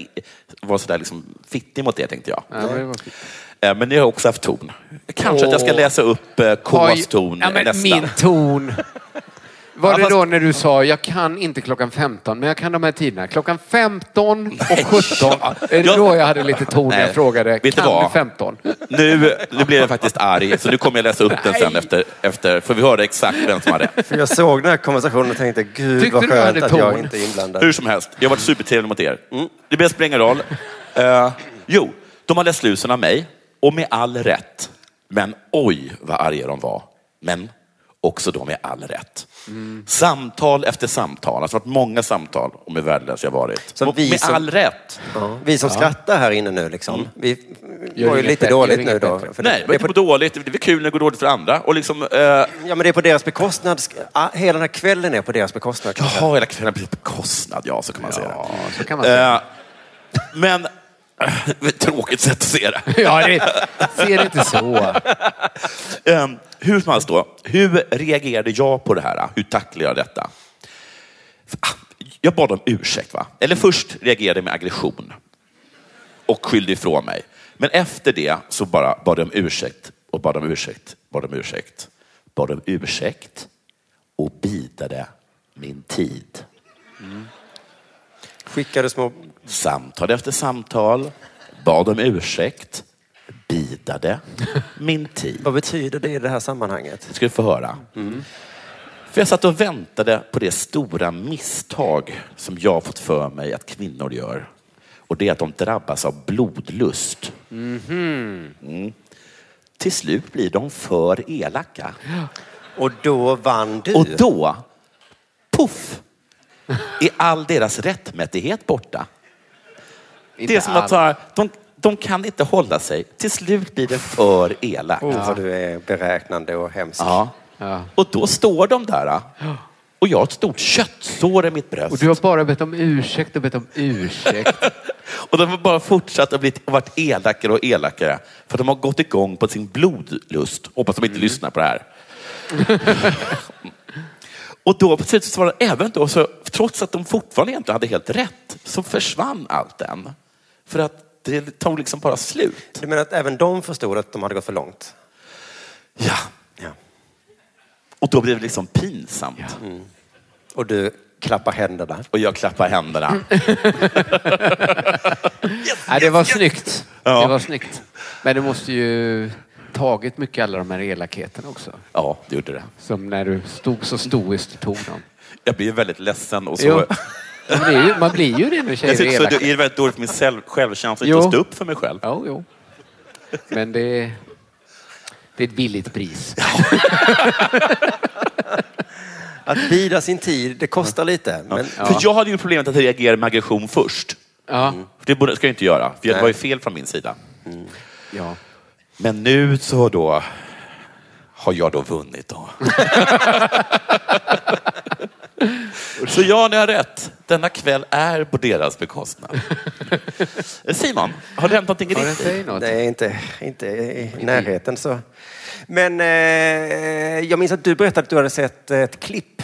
vara sådär liksom fittig mot er tänkte jag.
Ja, men det var fint.
Eh, men ni har också haft ton. Kanske att jag ska
Åh.
läsa upp eh,
Oj.
Ks ton
ja, men
nästa.
Min ton. Var
Ja,
det
fast-
då när du sa, jag kan inte klockan 15, men jag kan de här tiderna. Klockan 15 och 17. Är det
Jag-
då jag hade lite ton när
Nej.
jag frågade,
Vet du
kan
vad?
du 15?
Nu, nu blev jag faktiskt arg, så nu kommer jag läsa upp den sen efter, efter, för vi hörde exakt vem som hade.
För jag såg den här konversationen och tänkte, gud
Tyckte
vad
du hade
skönt att jag
ton?
inte är inblandad.
Hur som helst, jag har varit supertrevlig mot er. Mm. Det blir spelar ingen roll. Eh, jo, de har läst lusen av mig, och med all rätt. Men oj vad arga de var. Men också de med all rätt. Samtal efter samtal, alltså det har varit många samtal om hur värdelös jag varit.
Så
Och
vi
med
som-
all rätt.
Ja. Vi som skrattar här inne nu liksom, vi
Gör
var ju
inget
lite
bättre,
dåligt
gör
nu
inget
då.
bättre.
För
Nej, det
det
var
är
inte
på,
på dåligt. Det är kul när det går dåligt för andra. Och liksom, eh,
ja, men det är på deras bekostnad. Ja, hela den här kvällen är på deras bekostnad. kanske.
jaha, hela kvällen blir bekostnad. Ja, så kan man säga
Ja,
det.
så kan man säga.
Eh, men, ett tråkigt sätt att se det.
Ja, det, ser det inte så.
Ehm, hur som helst då, hur reagerade jag på det här? Hur tacklade jag detta? Ah, Jag bad om ursäkt. va? Eller först reagerade jag med aggression och skyllde ifrån mig. Men efter det så bara bad jag om ursäkt och bad om ursäkt, bad om ursäkt, bad om ursäkt och bidade min tid.
Skickade små...
Samtal efter samtal, bad om ursäkt, bidade min tid.
Vad betyder det i det här sammanhanget?
Det ska du få höra. För jag satt och väntade på det stora misstag som jag fått för mig att kvinnor gör. Och det är att de drabbas av blodlust. Mm. Till slut blir de för elaka.
Och då vann du.
Och då, poff, är all deras rättmätighet borta. Det är som att ta, de, de kan inte hålla sig. Till slut blir det för elakt.
Gud, Oh, vad du är beräknande och hemsk.
Ja.
Ja.
Och då står de där. ah. Och jag har ett stort köttsår i mitt bröst.
Och
Och,
du har bara bett om ursäkt och bett om ursäkt.
de har bara fortsatt att bli, och varit elakare och elakare. För de har gått igång på sin blodlust. Hoppas de inte
Mm.
lyssnar på det här. och då på slutet så var det även då, så, trots att de fortfarande egentligen hade helt rätt, så försvann allt den. För att det tog liksom bara slut.
Du menar att även de förstod att de hade gått för långt?
Ja.
Ja.
Och då blev det liksom pinsamt.
Mm.
Och du klappar händerna.
Och jag klappar
Mm.
händerna.
Nej, det var snyggt.
Ja.
Det var snyggt. Men det måste ju tagit mycket alla de här elakheterna också.
Ja, det gjorde det.
Som när du stod så stoiskt och tog dem.
Jag blir väldigt ledsen och så.
Jo. Man blir ju, man blir ju det när
Jag
tjejer är
tycker så
elaka.
det är väldigt dåligt för min själv- självkänsla att
Jo.
inte stå upp för mig själv.
Jo, jo. Men det, det är ett billigt pris.
Att bida sin tid, det kostar lite. Men,
För jag hade ju problemet att reagera med aggression först.
Ja.
Mm.
För det borde, ska jag inte göra, för det var ju fel från min sida.
Ja.
Men nu så då har jag då vunnit då. så ja, ni har rätt. Denna kväll är på deras bekostnad. Eh, Simon, har det hänt någonting i
Har den
ditt liv?
säger något?
Det är inte, inte i närheten så. Men eh, jag minns att du berättade att du hade sett ett klipp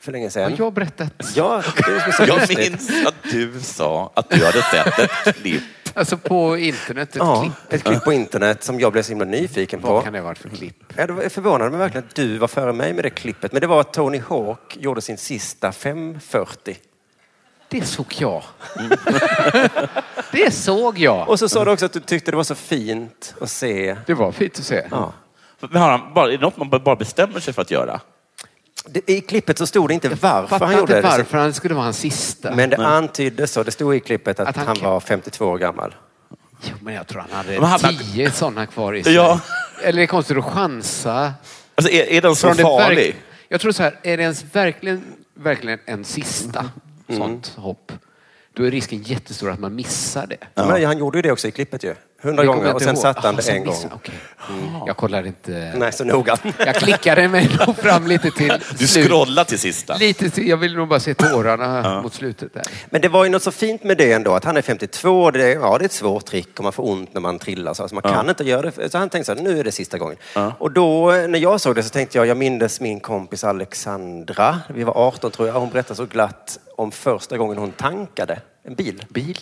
för länge
Har
sedan.
jag berättat?
Ja, det är så
Jag
lustigt.
minns att du sa att du hade sett ett klipp.
Alltså på internet, ett
Ja,
klipp.
ett klipp på internet som jag blev så himla nyfiken på.
Vad kan det ha varit för klipp?
Ja, det var- förvånade mig verkligen att du var före mig med det klippet. Men det var att Tony Hawk gjorde sin sista 540.
Det såg jag.
Mm.
det såg jag.
Och så sa du också att du tyckte det var så fint att se.
Det var fint att se.
Ja.
Men har han bara, är det något man bara bestämmer sig för att göra?
Det, I klippet så stod det inte varför
Fattar
han gjorde
inte
det.
varför han skulle vara hans sista.
Men det antyddes så. Det stod i klippet att,
Att han
han
kan-
var 52 år gammal.
Jo, men jag tror han
Men
hade
han-
tio sådana kvar i sig.
Ja.
Eller är det konstigt att chansa?
Alltså, är, är den så
Från det verk-
farlig?
Jag tror så här, är det ens verkligen, verkligen en sista
Mm.
sånt hopp, då är risken jättestor att man missar det.
Men han gjorde ju det också i klippet ju. 100
Det kommer
gånger
jag
och
inte
sen
ihåg.
satte han
Ah,
det
sen
en gång. Mm.
missade- okej. Jag kollar inte.
Nej, så noga.
Jag klickade mig nog fram lite till
Du
slut.
scrollar till sista.
Lite till, jag vill nog bara se tårarna mot slutet där.
Men det var ju något så fint med det ändå, att han är 52, det är, ja det är ett svårt trick och man får ont när man trillar. Så alltså, man kan inte göra det. Så han tänkte så här, nu är det sista gången. Och då, eh, när jag såg det så tänkte jag, jag mindes min kompis Alexandra, vi var 18 tror jag, hon berättade så glatt om första gången hon tankade en bil.
Bil?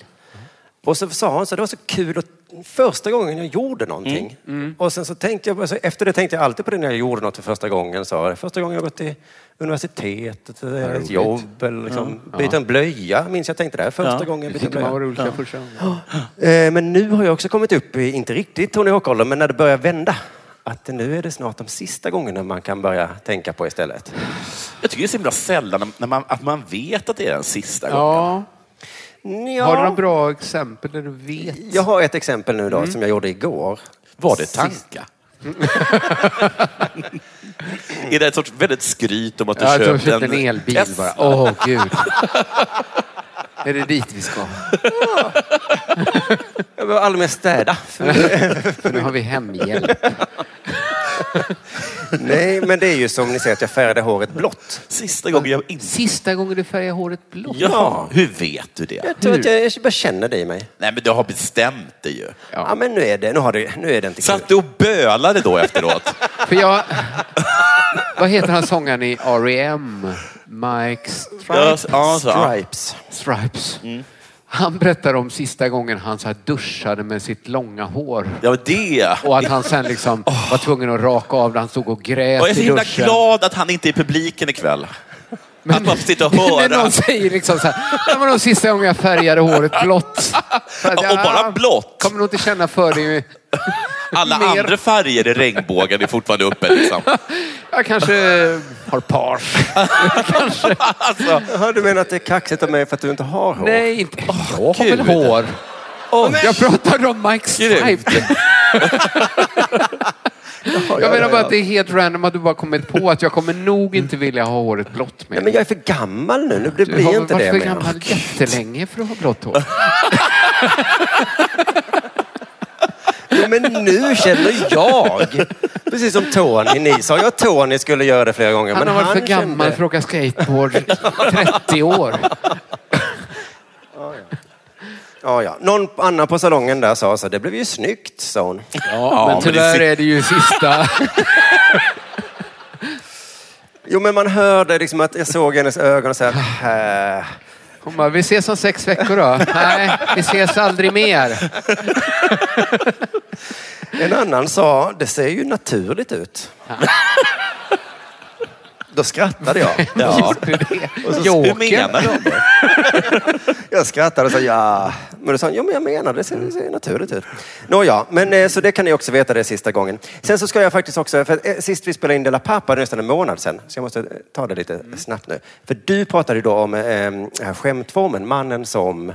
Och så sa hon så det var så kul att första gången jag gjorde någonting.
Mm,
Och sen så tänkte jag, så efter det tänkte jag alltid på det när jag gjorde något för första gången. Så var det första gången jag gått till universitetet, eller ett
roligt.
jobb eller liksom, byta en blöja. Minns jag tänkte det, här, första gången jag bytte
Tyckte man var
blöja.
roligt ja. första gången.
Eh, Men nu har jag också kommit upp i, inte riktigt Tony Hawk-åldern, men när det börjar vända. Att nu är det snart de sista gångerna man kan börja tänka på istället.
Jag tycker det är så himla sällan när- när man, att man vet att det är den sista gången.
Ja.
Ja,
Har du några bra Mm. exempel där du vet?
Jag har ett exempel nu då som jag gjorde igår.
Var det tanka? är det ett sorts väldigt skryt om att du
Ja, att du har
köpt,
köpt en elbil
S?
bara. Åh, gud. Är det dit vi ska?
Jag behöver aldrig mer städa.
För nu har vi hemhjälp.
Nej, men det är ju som ni ser att jag färgade håret blått.
Sista gången jag inte...
Sista gången du färgade håret blått.
Ja, hur vet du det?
Jag tror att jag, jag bara känner det i mig.
Nej, men du har bestämt det ju.
Ja, men nu är det, nu har det, nu är det inte
Satt
kul.
du och bölade då efteråt?
För jag... Vad heter han sångaren i R.E.M.? Mike
Ja,
Stripes?
så- ja, så, ja.
Stripes.
Stripes.
Mm.
Han berättar om sista gången han så här duschade med sitt långa hår.
ja, det.
Och att han sen liksom var tvungen att raka av det. Han stod och grät
Och jag är så
i
himla
duschen.
glad att han inte är i publiken ikväll. Att man får sitta och
När någon
höra.
säger liksom så här, det var nog sista gången jag färgade håret blått. För att
Ja, och
jag,
bara
ah,
blått.
Kommer nog inte känna för det.
Alla
mer.
andra färger i regnbågen är fortfarande uppe. Liksom.
Jag kanske har pars.
Alltså,
Jaha, du menar att det är kaxigt av mig för att du inte har hår?
Nej, inte. jag har
gud.
väl hår.
Åh,
jag pratade om Mike
Grymt.
Stipe.
Ja,
Jag
ja,
menar bara
ja.
att det är helt random att du bara kommit på att jag kommer nog inte vilja ha håret blått
Nej,
mer.
men jag är för gammal nu. nu det
Du har
blir
väl
inte
varit
det
för
mer.
gammal jättelänge för att ha blått hår.
Jo, men nu känner jag. Precis som Tony. Ni sa ju att Tony skulle göra det flera gånger.
Han har
men
varit för gammal
kände-
för att åka skateboard i 30 år.
Ja, ja. Någon annan på salongen där sa så. Det blev ju snyggt, sa hon.
Ja,
men tyvärr
det är...
är det ju sista.
Jo, men man hörde liksom att jag såg hennes ögon och så här. "Äh."
Hon bara, vi ses om sex veckor då. Nej, vi ses aldrig mer.
En annan sa, det ser ju naturligt ut. Då skrattade jag.
Ja.
Gjorde det.
Hur
Joker.
menar du?
Jag skrattade och sa ja. Men då sa han, ja men jag menar det, ser, det ser naturligt ut. Nåja, men eh, så det kan ni också veta det är sista gången. Sen så ska jag faktiskt också, för eh, sist vi spelade in De La Pappa, det är nästan en månad sedan, så jag måste eh, ta det lite
Mm.
snabbt nu. För du pratade ju då om eh, eh, skämtformen, mannen som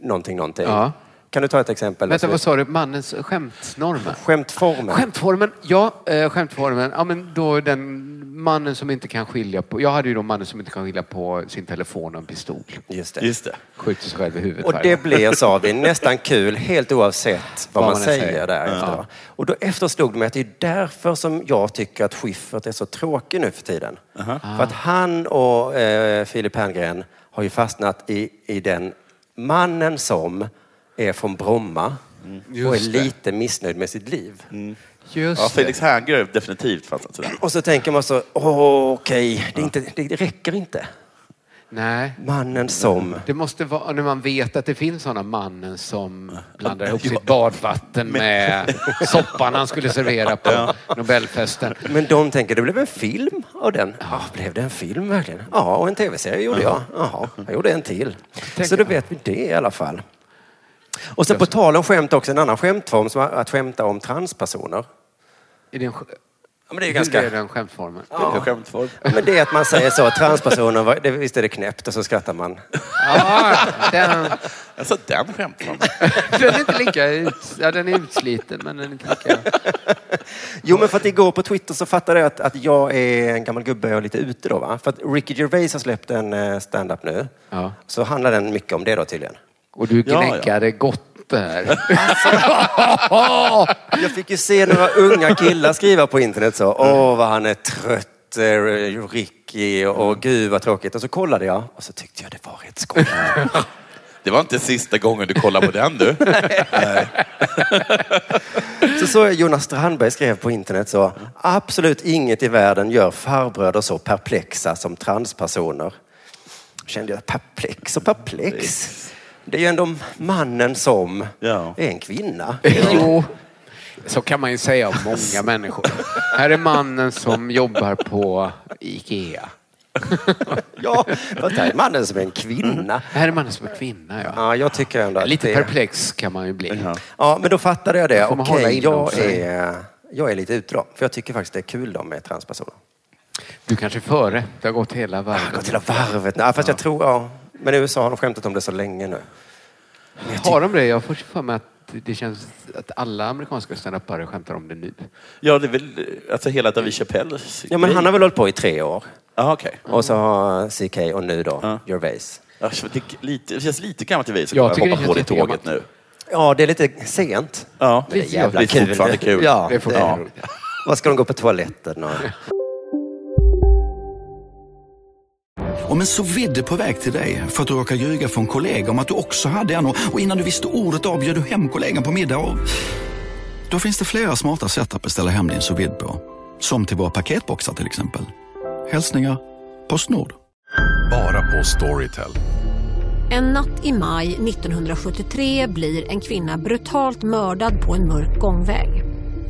någonting, någonting.
Ja.
Kan du ta ett exempel?
Vänta, vad sa du? Mannens skämtnormer?
Skämtformen.
Skämtformen, ja. Eh, skämtformen. Ja, men då är den mannen som inte kan skilja på... Jag hade ju då mannen som inte kan skilja på sin telefon och en pistol.
Just det.
Just det.
Skjuter sig själv i huvudet
Och
varje
det
gång.
blir, sa vi, nästan kul helt oavsett vad,
Vad
man
man än
säger,
säger.
därefter.
Ja.
va? Och då efter slog det mig att det är därför som jag tycker att Schiffert är så tråkig nu för tiden. För
Ah.
att han och eh, Filip Herngren har ju fastnat i, i den mannen som är från Bromma och är
Mm. Just det. Mm.
lite missnöjd med sitt liv.
Ja,
Just det.
Felix Herngren har definitivt fastnat sådär.
Och så tänker man så, åh okej, det, är inte- det räcker inte.
Nej.
Mannen som...
Det måste vara när man vet att det finns sådana mannen som blandar ihop sitt badvatten med soppan han skulle servera på Nobelfesten.
Men de tänker, det blev en film av den. Ja, blev det en film verkligen? Ja, och en tv-serie gjorde jag. Jaha, jag gjorde en till. Så då vet vi det i alla fall. Och sen på tal om skämt också, en annan skämtform som är att skämta om transpersoner.
Är det en, sk-
Ja, men det är ju
hur
ganska...
är den skämtformen?
Ja. Skämtform.
Ja, men det är att man säger så, transpersoner, vad- det- visst är det knäppt och så skrattar man.
Ja, den,
Alltså den skämtformen.
den är inte lika ut, ja, den är utsliten men den är inte lika...
Jo, men för att igår på Twitter så fattade jag att, att jag är en gammal gubbe och lite ute då. Va? För att Ricky Gervais har släppt en eh, stand-up nu.
Ja.
Så handlar den mycket om det då tydligen.
Och du
Ja,
gnäggade gott där.
Jag fick ju se några unga killar skriva på internet så. Åh, vad han är trött, eh, Ricky, och gud vad tråkigt. Och så kollade jag och så tyckte jag det var rätt skoj.
Det var inte sista gången du kollade på den du.
Så såg jag Jonas Strandberg skrev på internet så. Absolut inget i världen gör farbröder så perplexa som transpersoner. Kände jag perplex och perplex. Det är ju ändå mannen som
Ja.
är en kvinna.
Jo, så kan man ju säga om många människor. Här är mannen som jobbar på Ikea.
Ja, fast det här är mannen som är en kvinna.
Här är mannen som är kvinna, ja.
Ja, jag tycker ändå att
Lite
det...
perplex kan man ju bli.
Ja, men då fattade jag det.
Då får man hålla
Okej,
inom
jag
sig.
är, jag är lite ute då. För jag tycker faktiskt det är kul då med transpersoner.
Du kanske är före. Du har gått
Ah,
hela
Jag går
världen.
till varvet nu. Ja, fast jag tror, ja. Men i USA har de skämtat om det så länge nu.
Har de det? Jag får för mig att det känns att alla amerikanska standupare skämtar om det nu.
Ja, det är väl alltså hela David Chappelles
Ja, men
grej.
han har väl hållit på i tre år.
Ja, okej.
Och så har CK och nu då, Gervais.
Ja, så Det, är lite, det känns lite gammalt i vis att
Jag
jag
tycker
hoppa
det
på det
känns lite
tåget
gammalt.
nu.
Ja, det är lite sent.
Ja.
Men det är jävla
det är
kul.
fortfarande kul.
Ja,
Det är fortfarande
det-
roligt.
Vad ska de gå på toaletten och...
Om en så vidde på väg till dig för att du råkar ljuga från kollega om att du också hade en och och innan du visste ordet av bjöd du hem kollegan på middag och... Då finns det flera smarta sätt att beställa hem din sous vide på. Som till våra paketboxar till exempel. Hälsningar Postnord.
Bara på Storytel.
En natt i maj 1973 blir en kvinna brutalt mördad på en mörk gångväg.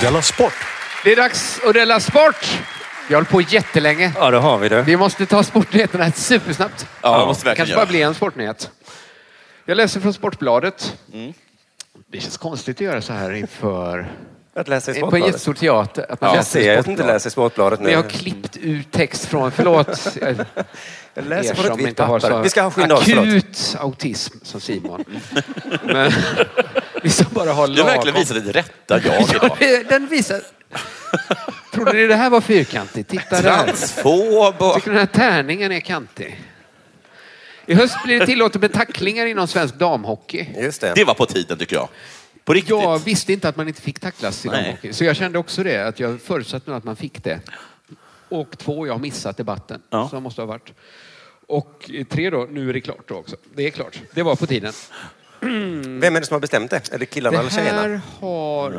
Della Sport.
Det är dags att dela sport! Vi har hållit på jättelänge.
Ja, då har vi det.
Vi måste ta sportnyheterna supersnabbt.
Ja, det måste vi verkligen
kanske
göra.
bara blir en sportnyhet. Jag läser från Sportbladet. Det känns konstigt att göra så här inför...
Att läsa i
På en
Sportbladet.
jättestor teater. Att man
Jag
läser i
ser att jag inte
Sportbladet.
läser Sportbladet nu.
Men jag har klippt ut text från... Förlåt.
Jag
er
läser på ett
som
vitt
inte har
papper.
så
Vi ska ha skynda oss, förlåt.
akut autism som Simon. Men, vi ska bara ha
Du har verkligen visat ditt rätta jag idag.
Den visar... Trodde ni det här var fyrkantigt? Titta där.
Transfob och...
Tycker den här tärningen är kantig? I höst blir det tillåtet med tacklingar inom svensk damhockey.
Just det.
Det var på tiden tycker jag. På riktigt.
Jag visste inte att man inte fick tacklas i
Nej.
damhockey. Så jag kände också det, att jag förutsatte nog att man fick det. Och två, jag har missat debatten.
Ja.
Som måste ha varit. Och tre då, nu är det klart då också. Det är klart. Det var på tiden.
Vem är det som har bestämt det? Är det killarna eller
Det
tjejerna?
här har...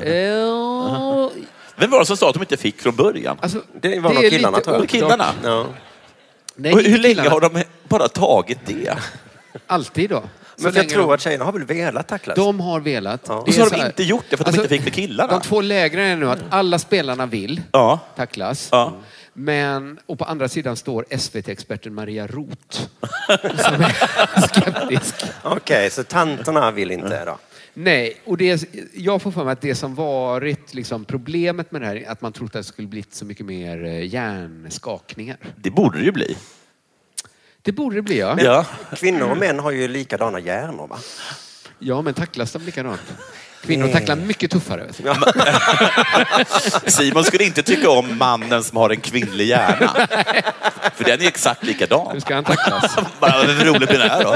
Eh,
Vem var det som sa att de inte fick från början?
Alltså,
det var det nog är killarna, lite tror jag. oklart.
Killarna?
Nej,
och hur
inte
länge
killarna.
har de bara tagit det?
Alltid då.
Men jag tror att tjejerna har väl velat tacklas?
De har velat. Ja.
Och så har de inte gjort det för att de inte fick med killarna.
alltså, De två lägren är nu att alla spelarna vill
Ja.
tacklas. Men, och på andra sidan står SVT-experten Maria Roth. som är skeptisk.
Okej, så tanterna vill inte då?
Nej, och det, jag får för mig att det som varit liksom problemet med det här är att man trodde att det skulle bli så mycket mer eh, hjärnskakningar.
Det borde det ju bli.
Det borde det bli, ja.
Men Kvinnor och män har ju likadana hjärnor va?
Ja, men tacklas de likadant?
Eh.
Kvinnor tacklar mycket tuffare. Vet du.
Simon skulle inte tycka om mannen som har en kvinnlig hjärna. För den är exakt likadan. Hur
ska han tacklas?
Bara, hur rolig blir det här då?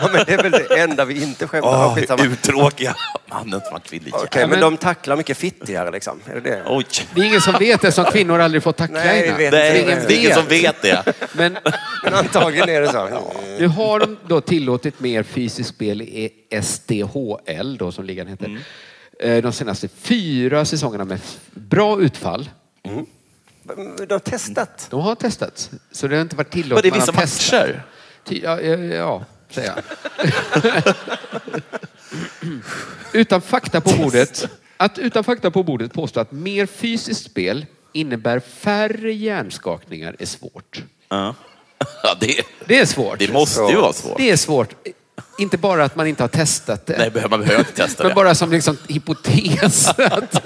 Ja, men det är väl det enda vi inte skämtar om.
Åh,
Skitsamma.
uttråkiga mannen som har kvinnlig hjärna.
Okej, men de tacklar mycket fittigare liksom. Är det det?
Oj.
Det är ingen som vet eftersom kvinnor aldrig fått tackla
Nej, vi
innan.
vet
Så
inte.
ingen
Det är ingen som
vet det.
Men,
Men antagligen är det så.
Nu har de då tillåtit mer fysiskt spel i SDHL då, som ligan
Mm.
heter. Eh, De senaste fyra säsongerna med f- bra utfall.
De har testat.
De har testat. Så det har inte varit tillåtet.
Var det
Man har
vissa
testat.
matcher?
Ty- Ja, ja, ja säger jag. utan fakta på bordet. Att utan fakta på bordet påstå att mer fysiskt spel innebär färre hjärnskakningar är svårt.
Ja. Ja, det,
det är svårt.
Det måste ju vara svårt.
Det är svårt. Inte bara att man inte har testat det.
Nej, behöver- man behöver inte testa
Men
det.
bara som liksom hypotes. att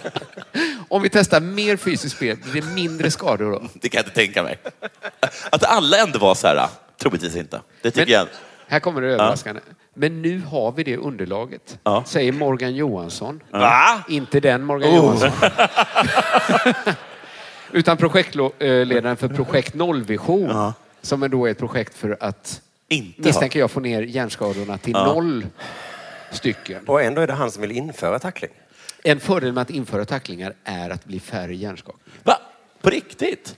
om vi testar mer fysiskt spel blir det mindre skador då.
Det kan jag inte tänka mig. Att alla ändå var så här, troligtvis inte. Det tycker jag.
Här kommer det överraskande. Men nu har vi det underlaget, säger Morgan Johansson.
Va?
Inte den Morgan
Oh.
Johansson. Utan projektledaren för Projekt Nollvision, som är då är ett projekt för att,
inte
misstänker jag, få ner hjärnskadorna till
Ja.
noll stycken.
Och ändå är det han som vill införa tackling.
En fördel med att införa tacklingar är att bli färre hjärnskakningar.
Va? På riktigt?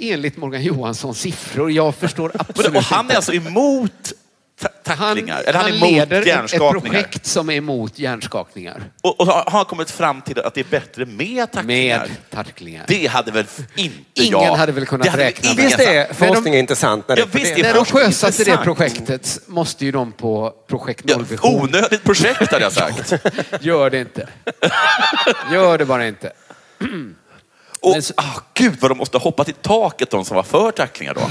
Enligt Morgan Johanssons siffror. Jag förstår absolut
Och han
inte.
är alltså emot ta- tacklingar? Eller han, är emot
leder ett, ett
hjärnskakningar?
projekt som är emot hjärnskakningar.
Och, och har han kommit fram till att det är bättre med tacklingar? Med
tacklingar.
Det hade väl f- inte
Ingen
jag...
hade väl kunnat
Det hade
räkna med
ingen
det. Visst är
sagt.
alltså, Forskning är intressant. När det,
Ja, visst är
När de
forskning
sjösatte det
intressant.
projektet måste ju de på projekt nollvision.
Onödigt projekt hade jag sagt.
Gör det inte. Gör det bara inte.
Och, ah, gud vad de måste ha hoppat i taket de som var för tacklingar då.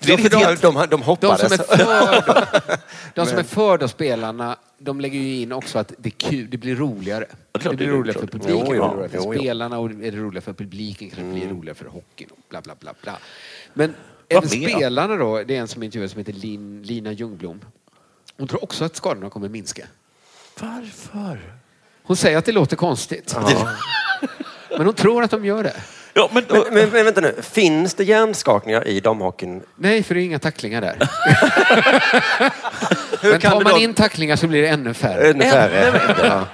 Det är
Ja, för de-
helt-
de, de
De som är för, då, de som
Men-
är för då spelarna, de lägger ju in också att det, är kul, det blir roligare.
det är
Det,
klart
blir
det är
roligare för
klart.
publiken,
Jo,
det blir
ja,
roligare för
jo, jo.
spelarna och är det roligare för publiken kanske det blir roligare för hockeyn och bla bla bla. bla. Men
Vad
även
mer?
spelarna då, det är en som intervjuas som heter Lin, Lina Ljungblom. Hon tror också att skadorna kommer minska.
Varför?
Hon säger att det låter konstigt. Men hon tror att de gör det.
Ja, men,
men, men, vänta nu, finns det hjärnskakningar i damhockeyn?
Nej, för det är inga tacklingar där.
Hur
men
kan
tar
det
man
då-
in tacklingar så blir det ännu
Eh,
färre.
Ännu färre. Ja.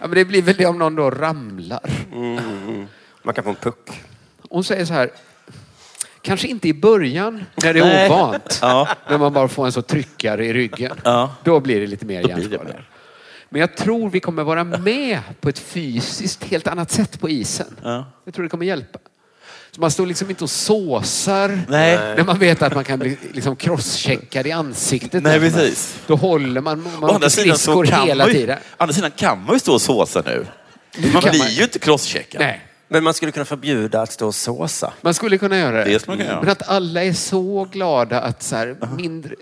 Ja, men det blir väl det om någon då ramlar.
Man kan få en puck.
Hon säger så här. Kanske inte i början när det är
Nej.
ovant.
Ja.
När man bara får en så tryckare i ryggen.
Ja.
Då blir det lite mer
Då blir det
hjärnskador. Men jag tror vi kommer vara med på ett fysiskt helt annat sätt på isen.
Ja.
Jag tror det kommer hjälpa. Så man står liksom inte och såsar
Nej.
när man vet att man kan bli liksom crosscheckad i ansiktet.
Nej,
När man-
precis.
Då håller man,
Å
man
andra
åker
sidan, så
skridskor
kan
hela
man ju,
tiden.
å andra sidan kan man ju stå och såsa nu. Man
kan
blir
man-
ju inte crosscheckad.
Nej.
Men man skulle kunna förbjuda att stå och såsa.
Man skulle kunna göra det.
Det skulle man kunna göra.
Men att alla är så glada att så här, mindre,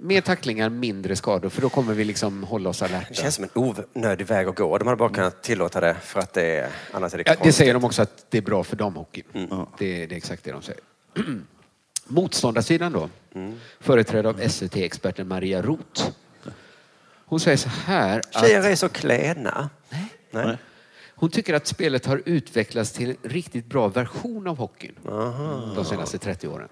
mer tacklingar, mindre skador. För då kommer vi liksom hålla oss
Det
alerta.
känns som en onödig väg att gå. De hade bara kunnat tillåta det för att det är... Annars är det
Ja, det
konstigt.
säger de också att det är bra för damhockeyn. Det, det är exakt det de säger. Motståndarsidan då, företrädd av SVT-experten Maria Roth. Hon säger så här att
Tjejer är så klädna. Nej. Nej.
hon tycker att spelet har utvecklats till en riktigt bra version av hockeyn de senaste 30 åren.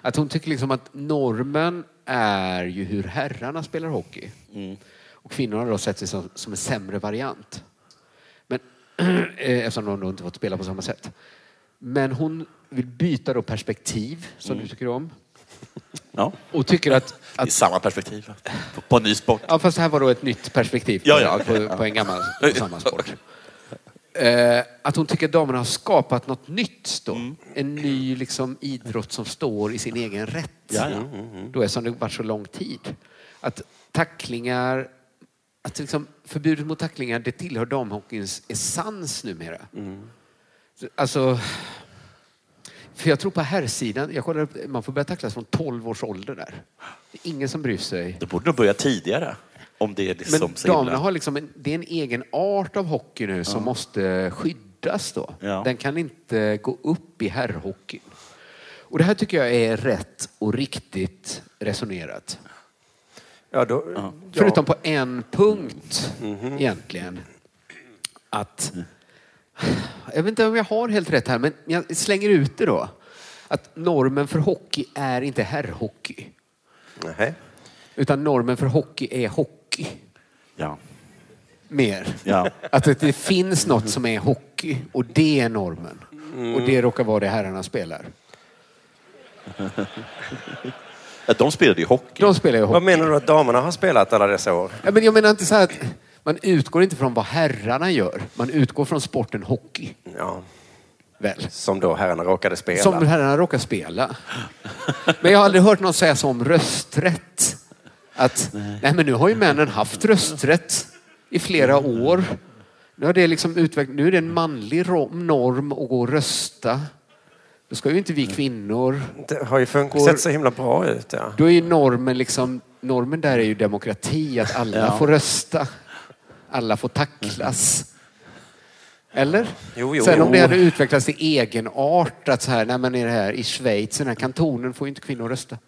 Att hon tycker liksom att normen är ju hur herrarna spelar hockey. Och kvinnorna har då sett sig som, som en sämre variant. Men, eh, eftersom de då inte fått spela på samma sätt. Men hon vill byta då perspektiv, som du tycker om.
Ja.
Och tycker att...
I samma perspektiv. på en ny sport.
Ja, fast här var då ett nytt perspektiv på,
Ja, ja, okej.
på, på en gammal på samma sport. Eh, att hon tycker att damerna har skapat något nytt då.
Mm.
En ny liksom, idrott som står i sin egen rätt.
Ja, ja. Mm, mm.
Då är som det varit så lång tid. Att tacklingar, att liksom, förbudet mot tacklingar det tillhör damhockeyns essens numera.
Mm.
Alltså, för jag tror på herrsidan, jag kollar upp, man får börja tacklas från 12 års ålder där. Det är ingen som bryr sig.
Det borde nog börja tidigare. Om det är
Men
liksom så
damerna
himla-
har liksom en, det är en egen art av hockey nu som
Ja.
måste skyddas då.
Ja.
Den kan inte gå upp i herrhockeyn. Och det här tycker jag är rätt och riktigt resonerat.
Ja, då,
Förutom på en punkt
Mhm.
egentligen. Att... Jag vet inte om jag har helt rätt här, men jag slänger ut det då. Att normen för hockey är inte herrhockey.
Nej.
Utan normen för hockey är hockey.
Ja.
Mer.
Ja.
Att det, det finns något som är hockey och det är normen. Och det råkar vara det herrarna spelar.
Ja, De spelade ju hockey.
De spelar ju hockey.
Vad menar du att damerna har spelat alla dessa år?
Ja, men jag menar inte så här att man utgår inte från vad herrarna gör. Man utgår från sporten hockey.
Ja.
Väl.
Som då herrarna råkade spela.
Som herrarna råkar spela. Men jag har aldrig hört någon säga så om rösträtt. Att nej. men nu har ju männen haft rösträtt i flera år. Nu, har det liksom utveck- nu är det en manlig ro- norm att gå och rösta. Då ska ju inte vi kvinnor...
Det har ju fun-
Går-
sett så himla bra ut. Ja.
Då är ju normen liksom... Normen där är ju demokrati, att alla
Ja.
får rösta. Alla får tacklas. Eller?
Jo, jo,
Sen om det
jo.
hade utvecklats till egenart att så här, nej men i det här i Schweiz, i den här kantonen får ju inte kvinnor rösta.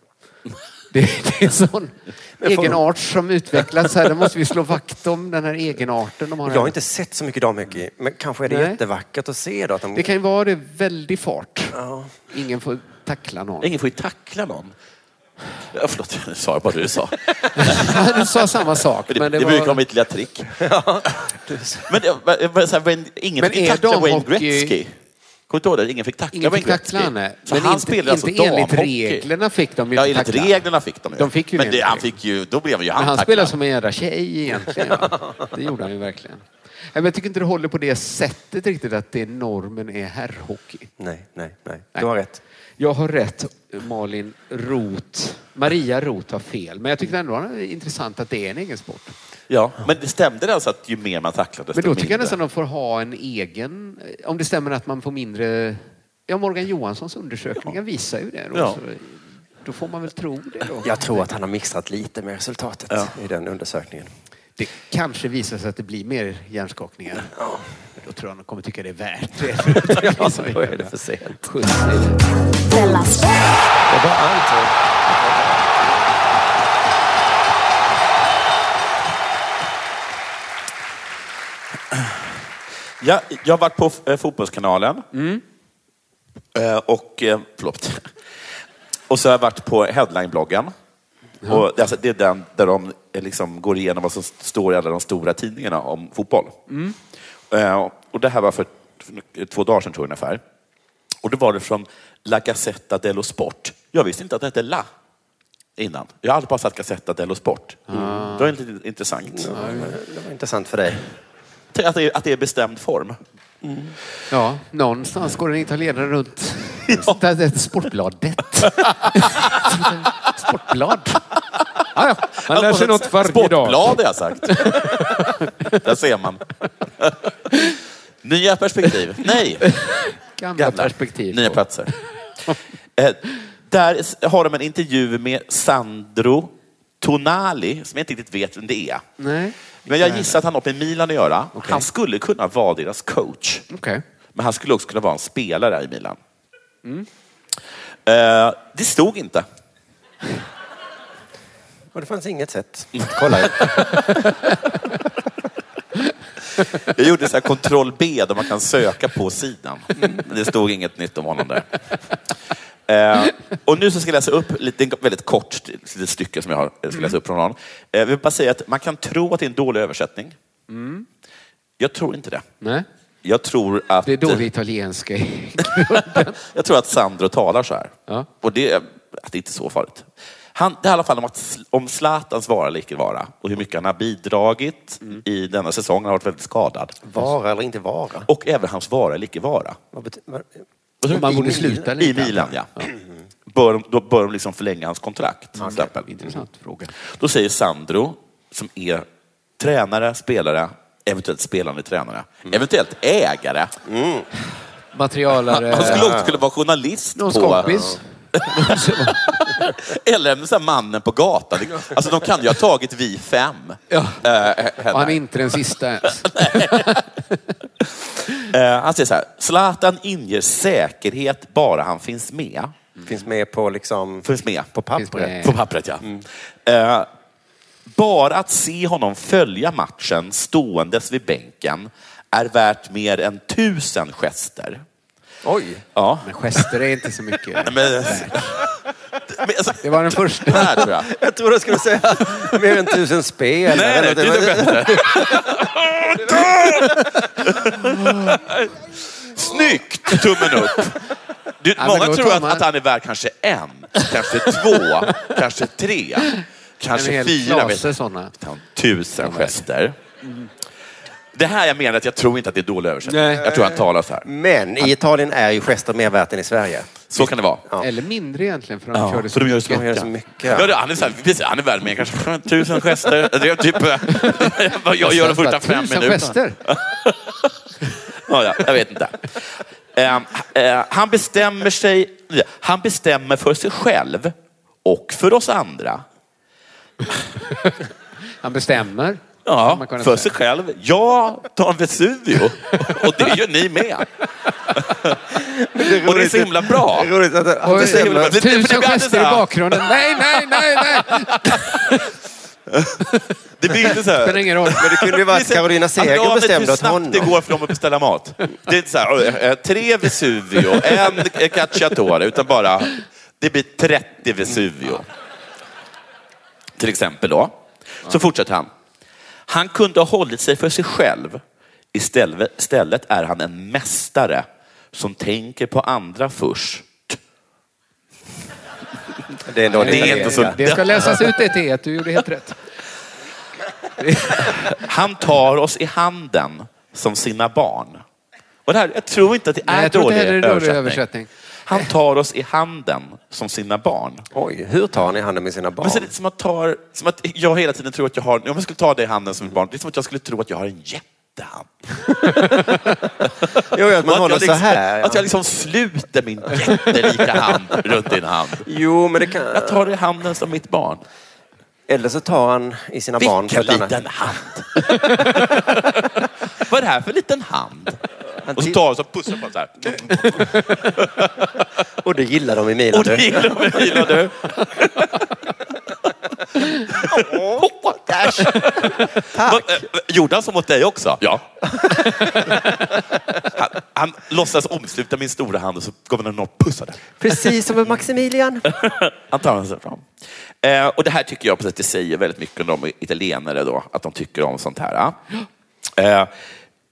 Det, det är sån
Men får-
egenart som utvecklats här. Då måste vi slå vakt om den här egenarten de har.
Jag har
här.
inte sett så mycket damhockey, men kanske är det
Nej.
jättevackert att se då. Att de...
Det kan ju vara det väldig fart. Ingen får tackla någon.
Ingen får ju tackla någon. Ja, förlåt, nu sa jag bara det du sa.
du sa samma sak.
Det,
Men det,
brukar vara
var...
mitt lilla trick. men det, var- var så här, Wayne- ingen
Men
fick
är
tackla Wayne
damhockey-
Gretzky. Kommer du inte ihåg det? Ingen fick tackla
Ingen fick
Wayne
tackla
Gretzky.
henne.
Så
Men
han
inte,
spelade alltså
inte enligt
damhockey.
reglerna fick de ju
Ja,
inte
enligt
tackla.
reglerna fick de ju.
De fick ju
men det,
det.
han fick ju, då blev ju
Men
han,
han
tacklad.
spelade som en jädra tjej egentligen. Ja. Det gjorde han ju verkligen. Nej, Men jag tycker inte det håller på det sättet riktigt att det normen är herrhockey.
Nej, nej, nej. Du har rätt.
Jag har rätt, Malin Roth. Maria Roth har fel. Men jag tyckte ändå att det är intressant att det är en egen sport.
Ja, men det stämde alltså att ju mer man tacklade
Men
desto
då tycker jag
mindre.
nästan att de får ha en egen... eh, Om det stämmer att man får mindre... Ja, Morgan Johanssons undersökningar visar ju det. Då,
Ja.
så då får man väl tro det då.
Jag tror att han har mixat lite med resultatet i den undersökningen.
Det kanske visar sig att det blir mer hjärnskakningar. Men Då tror jag de kommer tycka det är värt det.
Ja, då är det för sent.
Jag bara antar.
Ja, jag har varit på eh, Fotbollskanalen. Eh, och, eh, förlåt. Och så har jag varit på Headline-bloggen. Och, det- alltså, det är den där de eh, liksom går igenom vad som står i alla de stora tidningarna om fotboll. Eh, och det här var för t- två dagar sedan tror jag ungefär. Och då var det från La Gazzetta dello Sport. Jag visste inte att det hette La innan. Jag har aldrig bara sagt Gazzetta dello Sport. Det var inte intressant.
Det var intressant för dig.
Tänk Att det, är- att det är bestämd form.
Ja, någonstans går en italienare runt. Där är Sportbladet. Sportblad. Ah, ja. Man lär sig något varje dag.
Sportblad har jag sagt. Där ser man. Nya perspektiv. Nej.
Gamla perspektiv.
Nya platser. Eh, Där s- har de en intervju med Sandro Tonali, som jag inte riktigt vet vem det är.
Nej.
Men jag gissar att han har med Milan att göra. Han skulle kunna vara deras coach.
Okej.
Men han skulle också kunna vara en spelare i Milan.
Mm.
Eh, Det stod inte.
Och det fanns inget sätt att kolla.
Jag gjorde så här kontroll B där man kan söka på sidan. Det stod inget nytt om honom där. Eh, och nu så ska jag läsa upp lite, en väldigt kort litet stycke som jag har, jag ska läsa upp från honom. Eh, jag vill bara säga att man kan tro att det är en dålig översättning.
Mm.
Jag tror inte det.
Nej.
Jag tror att...
Det är dålig italienska.
jag tror att Sandro talar så här. Och det, att det inte är så farligt. Han, det handlar i alla fall om, att, sl- om Zlatans vara eller icke vara och hur mycket han har bidragit
Mm.
i denna säsong. Han har varit väldigt skadad.
Vara eller inte vara?
Och även hans vara eller icke vara.
Vad bety- vad- eh,
Och så-
I
i Milan- I Milan, ja. Bör de, då bör de liksom förlänga hans kontrakt. till exempel.
Intressant fråga.
Då säger Sandro, som är tränare, spelare, eventuellt spelande tränare,
Mm.
eventuellt ägare. Han,
Materialare...
han skulle också kunna vara journalist.
Någons
på-
kompis.
Eller den så här mannen på gatan. Alltså de kan ju ha tagit vi fem. Eh, eh,
Och han är inte den sista ens.
Eh, han säger så här, Zlatan inger säkerhet bara han finns med.
Finns med på liksom...
Finns med.
På pappret.
Finns med. På pappret, ja. Eh, bara att se honom följa matchen ståendes vid bänken är värt mer än tusen gester.
Oj!
Ja.
Men gester är inte så mycket.
Men, alltså,
Det var den första.
här, tror jag.
Jag tror du skulle säga mer än tusen spel.
Nej, nej, tusen gester. Snyggt! Tummen upp. Du,
Ja, men
många
då
tror att,
tummar.
att han är värd kanske en, kanske två, kanske tre,
En
kanske
hel
fyra.
klase
vet-
sådana.
Tusen gester. Det här jag menar att jag tror inte att det är dålig översättning.
Nej.
Jag tror han talar så här.
Men i Italien är ju gester mer värt än i Sverige.
Så kan det vara.
Eller mindre egentligen, för de
Ja,
körde
för de gör så mycket.
så mycket.
Ja, det- han är, så här, precis, han är värd mer kanske tusen gester. Det är typ eh, vad jag gör de första fem
Tusen
minuterna.
gester.
Ja, ja, jag vet inte. Eh, eh, han bestämmer sig, han bestämmer för sig själv och för oss andra.
Han bestämmer. kan
Ja,
man kunna
för
säga.
sig själv. Jag tar en Vesuvio och det gör ni med. Och det är så himla bra.
Det är roligt att han
Oj,
bestämmer.
Det- det- det- det-
Tusen
det-
gester i bakgrunden. Nej, nej, nej, nej!
Det blir inte så här.
Spelar ingen roll.
Men det kunde ju varit Carolina Seger bestämde
hur
åt
snabbt det
honom.
går för dem att beställa mat. Det är inte så här, eh, eh, tre Vesuvio, en eh, cacciatore, utan bara det blir 30 Vesuvio. Till exempel då. Så fortsätter han. Han kunde ha hållit sig för sig själv. Istället istället är han en mästare som tänker på andra först.
Det är en dålig
Det är inte
italienska.
så-
Det ska läsas ut det teet. Du gjorde helt rätt.
Han tar oss i handen som sina barn. Och det här, jag tror inte att det är
Nej, jag tror
dålig,
inte heller det är dålig
översättning.
översättning.
Han tar oss i handen som sina barn.
Oj, hur tar ni handen med sina
Men så är
barn?
det som, att tar, som att jag hela tiden tror att jag har, om jag skulle ta det i handen som ett barn, det är som att jag skulle tro att jag har en jättehand.
Jo, att
Och
man
att jag
håller så
liksom,
här. ja.
Att jag liksom sluter min jättelika hand runt din hand.
Jo, men det kan...
Jag tar det i handen som mitt barn.
Eller så tar han i sina barn på
Vilken
ett annat...
liten hand! Vad är det här för liten hand?
Han
Och så
till-
tar jag och så pussar på den så här.
Och det gillar de i
Och
Milan.
det
du.
gillar de i Milan du. Tack. eh, Gjorde han så mot dig också? Ja. Han, han låtsas omsluta min stora hand och så kommer han och pussar den.
Precis som med Maximilian.
Han tar sig fram. Eh, och det här tycker jag på sätt och vis säger väldigt mycket om de italienare då, att de tycker om sånt här. Eh,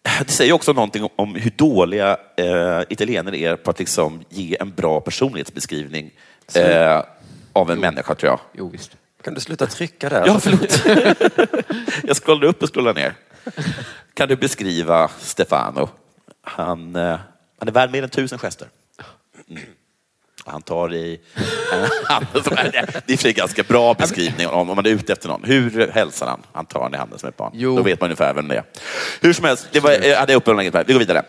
Eh, det säger också någonting om hur dåliga eh, italienare är på att liksom ge en bra personlighetsbeskrivning eh, av en människa, tror jag.
Jo, visst.
Kan du sluta trycka där?
Ja, förlåt. jag scrollade upp och scrollade ner. Kan du beskriva Stefano? Han, eh, han är värd mer än tusen gester. Mm. Och Han tar i... Han- det är i och för sig ganska bra beskrivning om, om man är ute efter någon. Hur hälsar han? Han tar han i handen som ett barn.
Jo.
Då vet man ungefär vem det är. Hur som helst, det var, jag hade jag uppehållit mig Vi går vidare.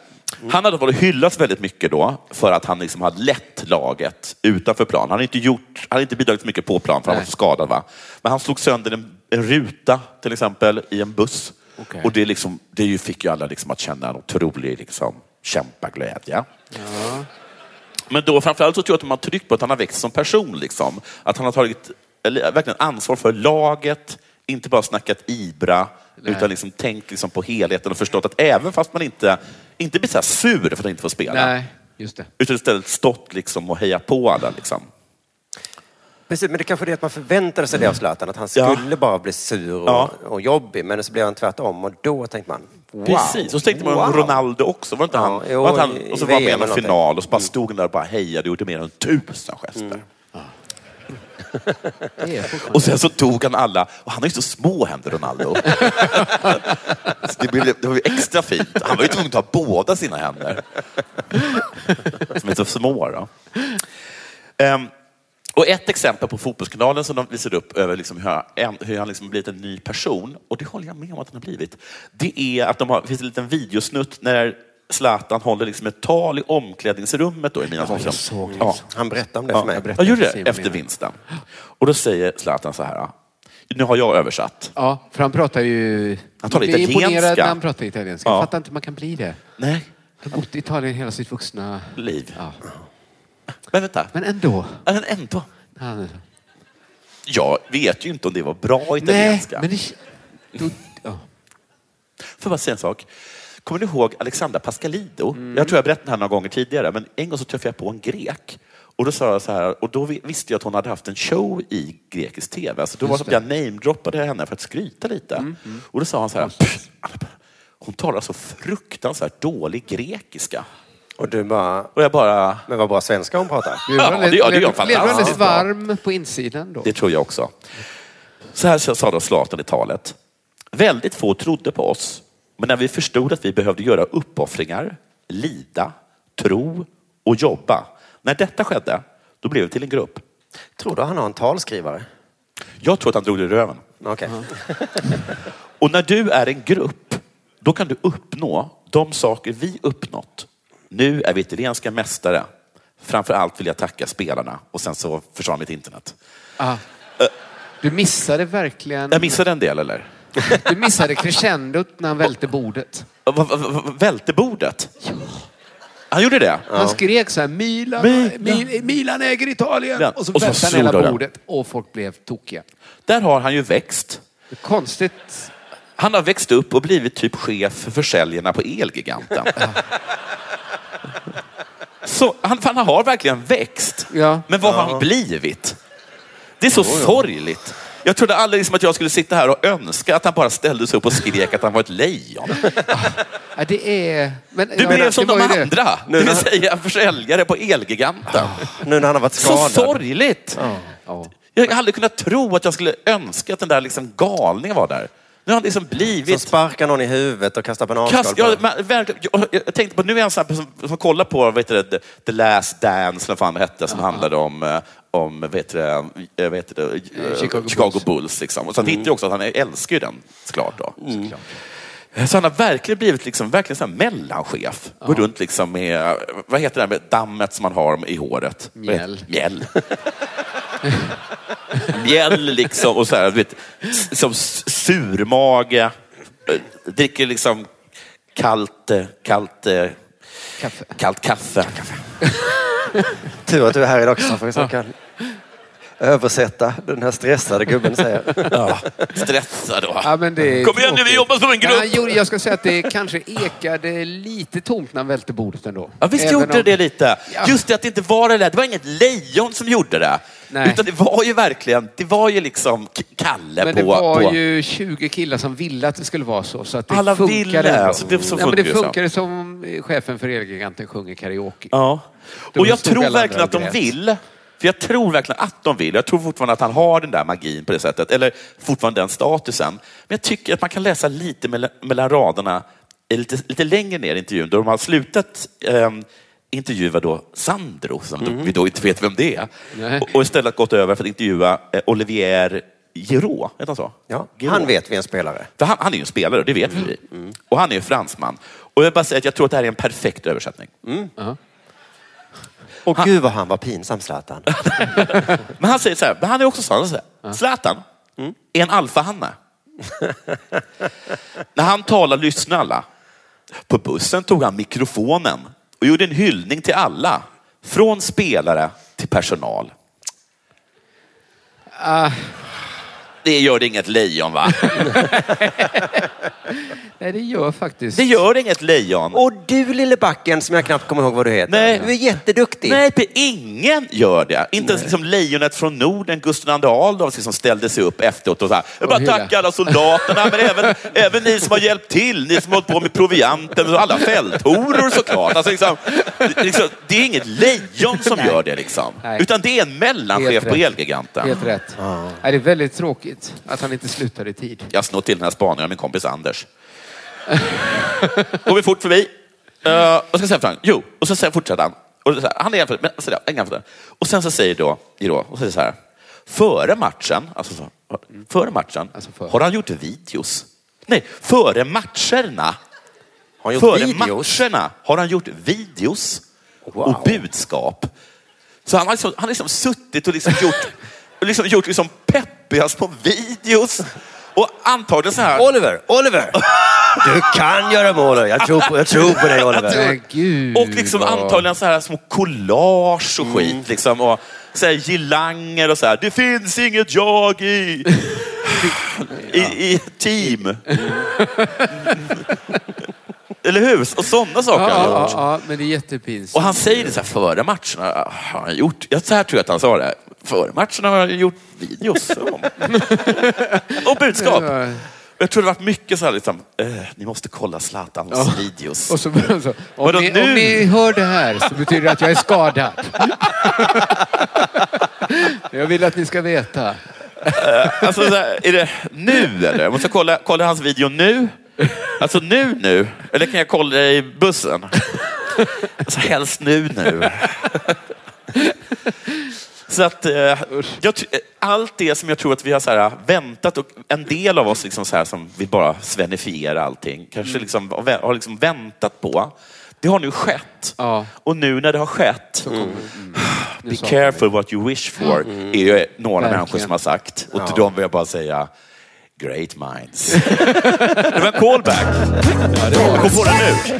Han hade varit hyllats väldigt mycket då för att han liksom hade lett laget utanför plan. Han hade inte, gjort, han hade inte bidragit så mycket på plan för han var
Nej.
så skadad. Va? Men han slog sönder en, en ruta till exempel i en buss.
Okej.
Och det, liksom, det ju- fick ju alla liksom att känna en otrolig liksom, kämpaglädje. Men då framförallt så tror jag att de har tryckt på att han har växt som person. Liksom. Att han har tagit eller, verkligen ansvar för laget, inte bara snackat Ibra, utan liksom tänkt liksom på helheten och förstått att även fast man inte, inte blir så här sur för att man inte får spela,
Nej, just det.
utan istället stått liksom och hejat på alla. Liksom.
Precis, men det kanske är det att man förväntade sig det av Zlatan, att han
Mm. Ja.
skulle bara bli sur och,
Ja.
och jobbig, men så blev han tvärtom och då tänkte man wow.
Precis, och så tänkte man om
wow.
Ronaldo också. Var inte
Ja,
han,
jo,
var inte
i-
han, och så
i
var han
VM
med i
eller
någon
Mm. någonting. Mm.
final och så bara stod han där och bara hejade och gjorde mer än tusen gester. Och sen så tog han alla, och han har ju så små händer Ronaldo. Så det, blev, det var ju extra fint. Han var ju tvungen att ta båda sina händer. Som är så små då. Ehm, och ett exempel på Fotbollskanalen som de visar upp över liksom hur, han- en, hur han liksom blivit en ny person, och det håller jag med om att han har blivit, det är att de har, det finns en liten videosnutt när Zlatan håller liksom ett tal i omklädningsrummet då, i Milan
jag såg det.
Ja.
Han berättade om det för mig.
Ja, jag gjorde det efter vinsten. Och då säger Zlatan så här. ja. Nu har jag översatt.
Ja, för han pratar ju...
Han talar
Jag blir imponerad
italienska.
när han pratar italienska.
Ja.
Jag fattar inte hur man kan bli det.
Nej.
Han har bott i Italien hela sitt vuxna...
Liv.
Ja.
Men vänta.
Men ändå.
Men ändå.
Han...
Jag vet ju inte om det var bra italienska.
men det... Då... Ja.
Får jag bara säga en sak? Kommer ni ihåg Alexandra Pascalido? Jag tror jag berättade det här några gånger tidigare, men en gång så träffade jag på en grek. Och då sa jag så här, och då vi- visste jag att hon hade haft en show i grekisk tv. Så då var det
Just
som att jag namedroppade henne för att skryta lite. Och då sa han så här, "Pff, hon talar så fruktansvärt dålig grekiska.
Och du bara...
Och jag bara...
Men vad bra svenska hon pratar.
Ja, det, ja, det gör
Blev du alldeles
fantastiskt bra.
varm på insidan då?
Det tror jag också. Så här sa då Zlatan i talet. Väldigt få trodde på oss, men när vi förstod att vi behövde göra uppoffringar, lida, tro och jobba. När detta skedde, då blev vi till en grupp.
Tror du han har en talskrivare?
Jag tror att han drog det i röven.
Okej.
Och när du är en grupp, då kan du uppnå de saker vi uppnått. Nu är vi italienska mästare. Framför allt vill jag tacka spelarna. Och sen så försvann mitt internet.
Ah. Du missade verkligen...
Eh. Jag missade en del, eller?
Du missade crescendot när han välte bordet.
Va- va- va- Välte bordet? Han gjorde det?
Han skrek så här, Milan, Mil, Milan äger Italien!
Ja,
Och så
och så
välte han hela
soldade.
bordet och folk blev tokiga.
Där har han ju växt.
Konstigt.
Han har växt upp och blivit typ chef för försäljarna på Elgiganten. så han, fan, han har verkligen växt. Men vad har han blivit? Det är så sorgligt. Jag trodde aldrig liksom att jag skulle sitta här och önska att han bara ställde sig upp och skrek att han var ett lejon.
Ja, det är... Men,
Du
ja,
blev
det
som
var
de
ju det.
andra, det vill säga försäljare på Elgiganten.
Nu när han har varit
Så
skadad.
sorgligt! Jag hade aldrig kunnat tro att jag skulle önska att den där liksom galningen var där. Nu har han liksom blivit...
Som sparkar någon i huvudet och kastar bananskal
Kast,
på
jag,
honom.
men, verkligen, jag, jag tänkte på, nu är jag en sån här person som, som kollar på vet du, det, The Last Dance, eller vad fan det hette, som handlade om, eh, om vet du, eh, vet du, eh,
Chicago
Chicago,
Bulls.
Bulls. liksom. Och sen hittar jag också att han älskar ju den, såklart. Då. Eh, Så han har verkligen blivit liksom, verkligen sån här mellanchef. Går runt liksom med, vad heter det här med dammet som man har i håret? Vad heter-
Mjäll.
Mjäll. Mjäll liksom och så här, du vet, s- som s- surmage. Eh, Dricker liksom kallt, eh, kallt, eh,
Kaffe.
kallt kaffe.
Tur att du är här idag Kristoffer, så jag kan översätta den här stressade gubben säger.
Ja, stressad då.
Ja, men det är
Kom igen nu, vi
tråkigt.
jobbar som en
Men han
grupp!
gjorde, jag ska säga att det kanske ekade lite tomt när han välte bordet ändå.
Ja, visst
Även
gjorde
om-
det lite.
Ja.
Just det, att det inte var det där. Det var inget lejon som gjorde det.
Nej.
Utan det var ju verkligen, det var ju liksom K- Kalle
Men
på...
det var
på...
ju 20 killar som ville att det skulle vara så. så att det
Alla
funkade
ville,
ändå.
så det- så
Nej, men det
funkar det så.
funkade som chefen för Elgiganten sjunger karaoke.
Ja.
Då
Och jag
stod alla
tror
andra
verkligen att de
överens.
vill. För jag tror verkligen att de vill. Jag tror fortfarande att han har den där magin på det sättet. Eller fortfarande den statusen. Men jag tycker att man kan läsa lite mell- mellan raderna, eh, lite, lite längre ner i intervjun, då de har slutat ehm, intervjua då Sandro, som vi då inte vet vem det är.
Nej.
Och, och istället gått över för att intervjua eh, Olivier Giraud, heter han så?
Ja,
Giraud.
han vet vi är en spelare.
För han, han är ju en spelare, det vet vi. Och han är ju fransman. Och jag bara säger att jag tror att det här är en perfekt översättning.
Och gud vad han var pinsam Zlatan.
Men han säger så här, men han är också sån. Han säger, Zlatan mm, är en alfahanne. När han talar lyssnar alla. På bussen tog han mikrofonen och gjorde en hyllning till alla. Från spelare till personal. det gör inget lejon va?
Nej, det gör faktiskt...
Det gör inget lejon.
Och du lille backen som jag knappt kommer ihåg vad du heter.
Nej.
Du är jätteduktig.
Nej, pe- ingen gör det. Inte ens liksom lejonet från Norden, Gustav II Adolf, som ställde sig upp efteråt och så här. Jag
Och
bara
hylla.
tacka alla soldaterna, men även, även ni som har hjälpt till, ni som har hållit på med provianten och alla fälthoror såklart. Alltså, liksom, liksom, det är inget lejon som
Nej.
gör det liksom.
Nej.
Utan det är en mellanchef
Helt
på
rätt.
Elgiganten.
Helt rätt. Nej, det är väldigt tråkigt att han inte slutar i tid.
Jag snor till den här spaningen av min kompis Anders. Går vi fort förbi. Uh, och så säger han, jo, och så säger- fortsätter han. Och så här, han är jämfört, men så där, en jämfört. Och sen så säger då, då och så, säger så här, före matchen, alltså så, före matchen, har han gjort videos? Nej, före matcherna. Har han gjort före
videos?
matcherna har han gjort videos och budskap. Så han har liksom, han har liksom suttit och liksom gjort, och liksom gjort liksom peppiga små videos. Och antagligen så här.
Oliver, Oliver! Du kan göra mål. Jag tror på, jag tror på dig Oliver.
Och liksom antagligen så här små collage och skit.
Mm.
Liksom, och så här gillanger och så här. Det finns inget jag i... I, i ett team. Eller hur? Och sådana saker
Ja,
har han
ja,
gjort.
ja, men det är jättepinsamt.
Och han säger det så här före matcherna. "Ah, Har han gjort? Jag, så här tror jag att han sa det. Före matcherna har jag gjort videos. om." och budskap. Jag tror det varit mycket så här liksom. "Eh, ni måste kolla Zlatans
Ja.
videos.
Och så, och så, om,
Vadå,
ni,
nu?
om ni hör det här så betyder det att jag är skadad. jag vill att ni ska veta.
Eh, alltså, så här, är det nu eller? Jag måste kolla, kolla hans video nu. Alltså nu nu. Eller kan jag kolla i bussen? Alltså helst nu nu. Så att eh, jag, ty- eh, allt det som jag tror att vi har så här, eh, väntat och en del av oss liksom så här, som vill bara svenifiera allting, kanske liksom, har vä- har liksom väntat på. Det har nu skett. Och nu när det har skett, be
saknar
careful what you wish for, är ju några
Verkligen.
människor som har sagt. Och till
Ja.
dem vill jag bara säga, great minds. det var en callback. Kom på den nu.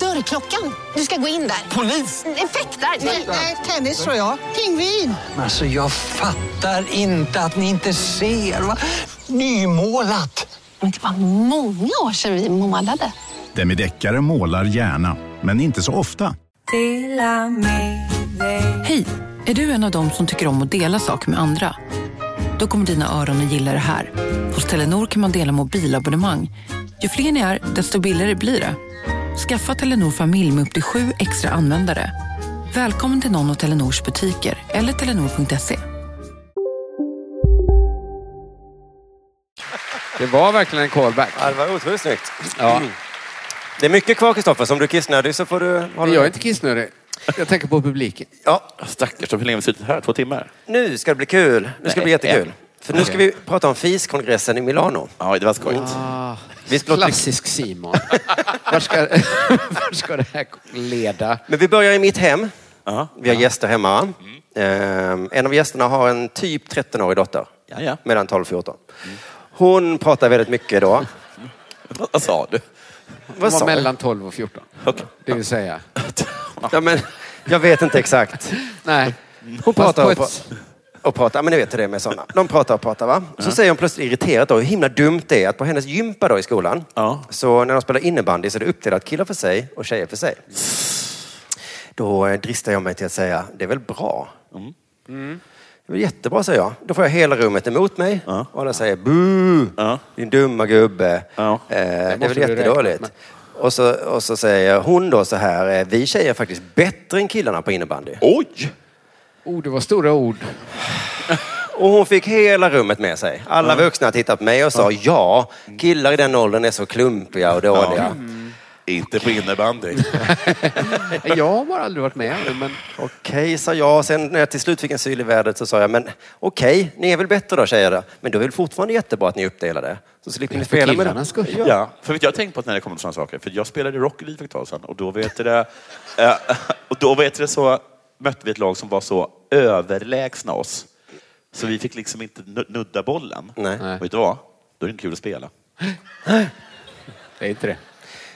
Dörrklockan. Du ska gå in där. Polis? Effektar? Nej, nej, tennis tror jag. Pingvin.
Alltså jag fattar inte att ni inte ser. Va? Nymålat.
Men det var många år sedan vi målade.
Demideckare målar gärna, men inte så ofta.
Hej! Är du en av dem som tycker om att dela saker med andra? Då kommer dina öron att gilla det här. Hos Telenor kan man dela mobilabonnemang. Ju fler ni är, desto billigare blir det. Skaffa Telenor familj med upp till sju extra användare. Välkommen till någon av Telenors butiker eller telenor.se.
Det var verkligen en callback.
Ja, det var otroligt snyggt.
Ja.
Det är mycket kvar Kristoffer. Som du är kissnödig så får du hålla
Men jag är inte kissnödig. Jag tänker på publiken.
Ja.
Stackars, hur länge har vi suttit här? Två timmar?
Nu ska det bli kul. Nu ska det bli
Nej,
jättekul.
en.
För nu ska
Okej.
vi prata om FIS-kongressen i Milano.
Ja, det var skojigt.
Vi ska låta-
Ah. Klassisk Simon. Vart ska, vart ska det här leda?
Men vi börjar i mitt hem. Vi har gäster hemma.
Mm.
Ehm, en av gästerna har en typ 13-årig dotter.
Ja, ja.
Mellan 12 och 14. Hon pratar väldigt mycket då.
Vad sa du?
Vad
sa
var
du?
mellan 12 och 14. Det vill säga.
Ja, men, jag vet inte exakt.
Nej.
Hon pratar
på
och,
ett-
pra- och pratar. Men ni vet hur det är med sådana. De pratar och pratar va? Så säger hon plötsligt irriterat då hur himla dumt det är att på hennes gympa då i skolan så när de spelar innebandy så är det uppdelat killar för sig och tjejer för sig. Då eh, dristar jag mig till att säga det är väl bra. Mm. Det är väl jättebra säger jag. Då får jag hela rummet emot mig och alla säger bu, din dumma gubbe. Eh, det är väl
måste du
jättedåligt.
räkna med.
Och så, och så säger hon då så här, eh, vi tjejer är faktiskt bättre än killarna på innebandy.
Oj!
Oh, det var stora ord.
Och hon fick hela rummet med sig. Alla vuxna tittade på mig och sa ja, killar i den åldern är så klumpiga och dåliga.
Inte på innebandy.
Jag har bara aldrig varit med. Men...
Okej, sa jag. Sen när jag till slut fick en syl i vädret så sa jag, men okej, ni är väl bättre då tjejer? då? Men då är det fortfarande jättebra att ni är uppdelade. Så slipper ni spela med det.
Ja, för vet, jag har tänkt på att när det kommer till sådana saker. För jag spelade Rocket League för ett tag sedan och då vet du det, eh, och då vet du det så mötte vi ett lag som var så överlägsna oss. Så vi fick liksom inte nu- nudda bollen.
Nej.
Vet du vad? Då är det inte kul att spela.
Det är inte det.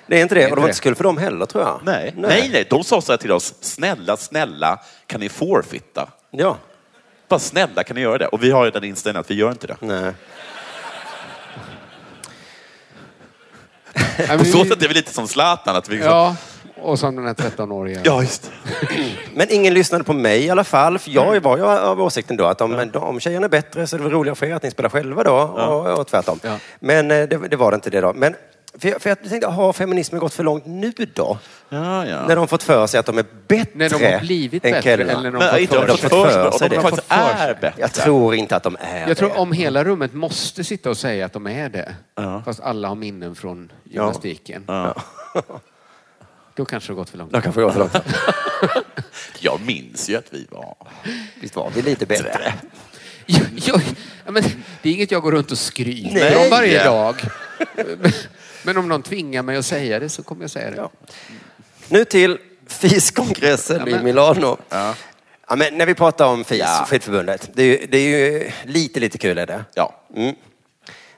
Det är inte det. Och det var inte så
kul
för dem heller tror jag.
Nej, nej. nej, De sa så här till oss. Snälla, snälla, kan ni forfitta?
Ja.
Bara snälla, kan ni göra det? Och vi har ju den inställningen att vi gör inte det.
Nej.
På så sätt är vi lite som Zlatan. Att vi liksom,
Ja, och som den här 13-åriga.
Ja, just
Men ingen lyssnade på mig i alla fall. För jag
Mm.
var ju av åsikten då att om, men om tjejerna är bättre så är det väl roligare för er att ni spelar själva då. Och, och tvärtom. Men eh, det, det var det inte det då. Men, för jag, för jag tänkte, har feminismen gått för långt nu då?
Ja, ja.
När de fått för sig att de är bättre
När de har blivit
än
bättre,
killarna.
eller när de Men fått inte för de sig. fått för sig, om de faktiskt är bättre.
Jag tror inte att de är
Jag tror
det.
om hela rummet måste sitta och säga att de är det. Fast alla har minnen från gymnastiken. Då kanske det har gått för långt.
Då kanske det har gått för
Jag minns ju att vi var...
Visst var vi lite bättre?
Ja, men det är inget jag går runt och skryter
Nej.
om varje dag. Men om någon tvingar mig att säga det så kommer jag säga det.
Nu till FIS-kongressen
Ja,
i
men-
Milano. Ja. men när vi pratar om FIS, skidförbundet, det är, ju, det är ju lite, lite kul är det.
Ja.
Mm.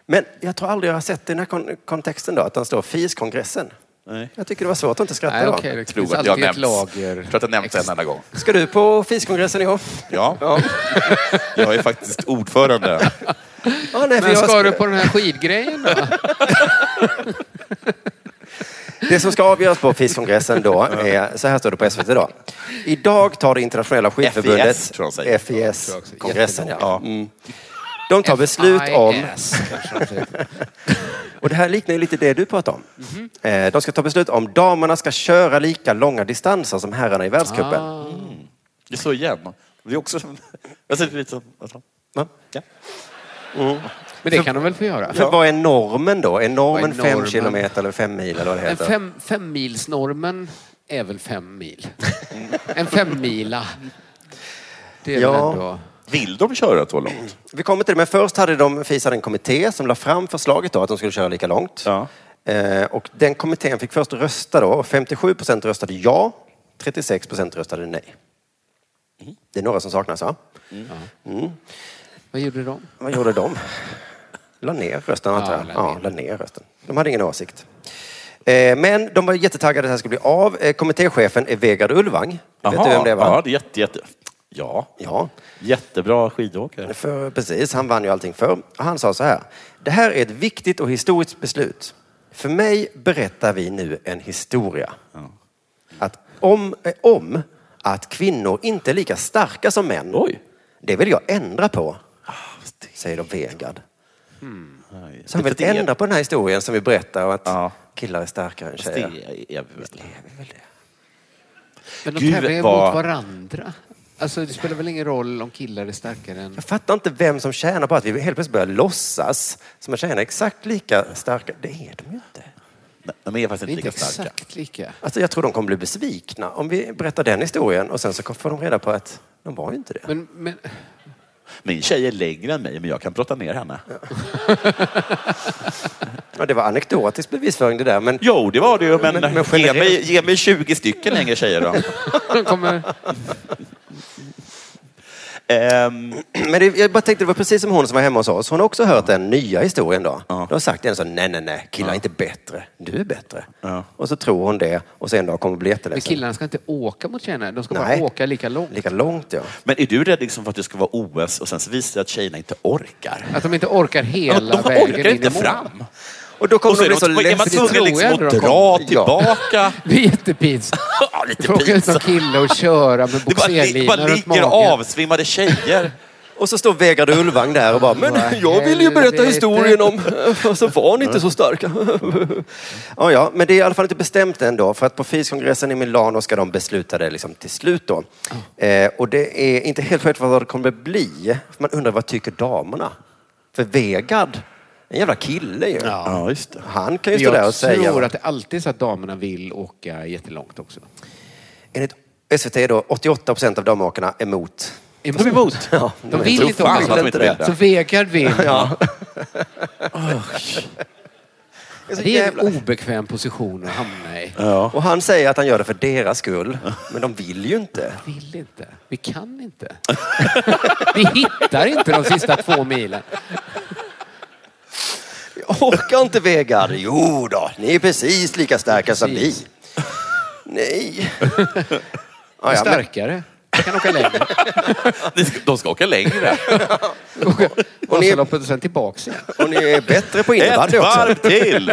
Men jag tror aldrig jag har sett i den här kon- kontexten då, att den står FIS-kongressen.
Nej.
Jag tycker det var svårt att inte skratta
Nej,
då.
okej, det Tror finns att jag alltid ett nämns. lager.
Jag tror att jag nämnt det en enda gång.
Ska du på FIS-kongressen i år?
Ja. Jag är faktiskt ordförande.
Ja,
Men
för jag
ska
ska-
du på den här skidgrejen då?
Det som ska avgöras på FIS-kongressen då är, så här står det på SVT då. Idag tar det internationella skidförbundet,
FIS, tror jag de säger.
FIS-kongressen, ja. Mm. De tar beslut om
FIS, kanske de säger.
Och det här liknar ju lite det du pratar om.
Mhm.
Eh, De ska ta beslut om damerna ska köra lika långa distanser som herrarna i världscupen.
Ah.
Mm. Det är så igen. Det är också som... Jag ser det lite som... alltså.
Va?
Ja.
Men det kan de väl få göra?
För vad är normen då? Är normen,
Vad är normen?
fem kilometer eller fem mil eller vad det
En
heter?
fem, femmilsnormen är väl fem mil? En femmila. Det är väl ändå...
Vill de köra så långt?
Vi kommer till det, men först hade de FIS hade en kommitté som la fram förslaget då att de skulle köra lika långt. Eh, Och den kommittén fick först rösta då. 57 procent röstade ja, 36 procent röstade nej.
Mm.
Det är några som saknas va? Mm.
Vad gjorde de?
Vad gjorde de? La ner rösten, antar jag. Ja, la ner rösten. De hade ingen åsikt. Eh, Men de var jättetaggade att det här skulle bli av. Eh, Kommittéchefen är Vegard Ulvang. Vet du
Jaha.
vem det var?
Ja, det är jätte, jätte... Ja.
ja.
Jättebra skidåkare.
För, precis, han vann ju allting för. Han sa så här. Det här är ett viktigt och historiskt beslut. För mig berättar vi nu en historia. Att om, eh, om att kvinnor inte är lika starka som män. Det vill jag ändra på.
Ah,
Säger då Vegard. Så han
Det-
vill
det är-
ändra på den här historien som vi berättar om att killar är starkare än
Fast det
tjejer.
är vi väl.
Men de
Gud,
tävlar ju
vad-
mot varandra. Alltså det spelar väl ingen roll om killar är starkare än...
Jag fattar inte vem som tjänar på att vi helt plötsligt börjar låtsas som att tjejerna är exakt lika starka. Det är de ju inte.
Nej, de är faktiskt inte
Det är inte
lika starka.
exakt lika.
Alltså jag tror de kommer bli besvikna om vi berättar den historien och sen så får de reda på att de var ju inte det.
Men, men...
Min tjej är längre än mig, men jag kan brotta ner henne.
Ja, det var anekdotisk bevisföring det där. Men,
jo, det var det ju. Men, ge,
generellt-
mig, ge mig 20 stycken längre tjejer då.
De kommer...
Ehm,
Men det, jag bara tänkte, det var precis som hon som var hemma hos oss. Hon har också hört den nya historien då. Då har sagt en sån, nej, nej, nej, killar är inte bättre. Du är bättre. Och så tror hon det och sen en dag kommer hon bli
Men
jätteledsen.
killarna ska inte åka mot tjejerna. De ska
Nej.
bara åka lika långt.
Lika långt ja.
Men är du rädd liksom för att det ska vara OS och sen så visar det sig att tjejerna inte orkar?
Att de inte orkar hela
de orkar
vägen in
inte
i mål.
fram.
Och då kommer
Och så
de
är
bli
de-
så
är man
ledsna.
tvungen
Det tror jag
liksom
ändå
att
de
dra
kommer- ja.
tillbaka?
Det är jättepinsamt.
Ja, lite
Fråga ut någon
pinsamt.
kille och köra med
Det bara, det bara
bogserlina runt
ligger
magen.
avsvimmade tjejer.
Och så står Vegard Ulvang där och bara, men jag vill ju berätta
helvete.
historien om... Och så var ni inte så starka. ja, ja, men det är i alla fall inte bestämt än då. För att på FIS-kongressen i Milano ska de besluta det liksom till slut då. Eh, och det är inte helt självklart vad det kommer bli. För man undrar, vad tycker damerna? För Vegard En jävla kille ju.
Ja, just det.
Han kan ju
Men
stå där
jag
och säga.
tror att det alltid är så att damerna vill åka jättelångt också.
Enligt SVT är då 88 procent av damåkarna emot.
Emot? De är emot?
Ja,
De vill inte åka. Så Vegard vill.
Ja.
Det
är så
är,
jävla-
en obekväm position att hamna i.
Och han säger att han gör det för deras skull. Men de vill ju inte.
Vi vill inte. Vi kan inte. Vi hittar inte de sista två milen.
Orkar inte Vegard? Jo då, ni är precis lika starka som vi. Nej.
Vi är starkare. Vi kan åka längre.
De ska åka längre.
Och ni... loppet och sen tillbaks igen.
Och ni är bättre på innebandy
Ett
också.
varv till.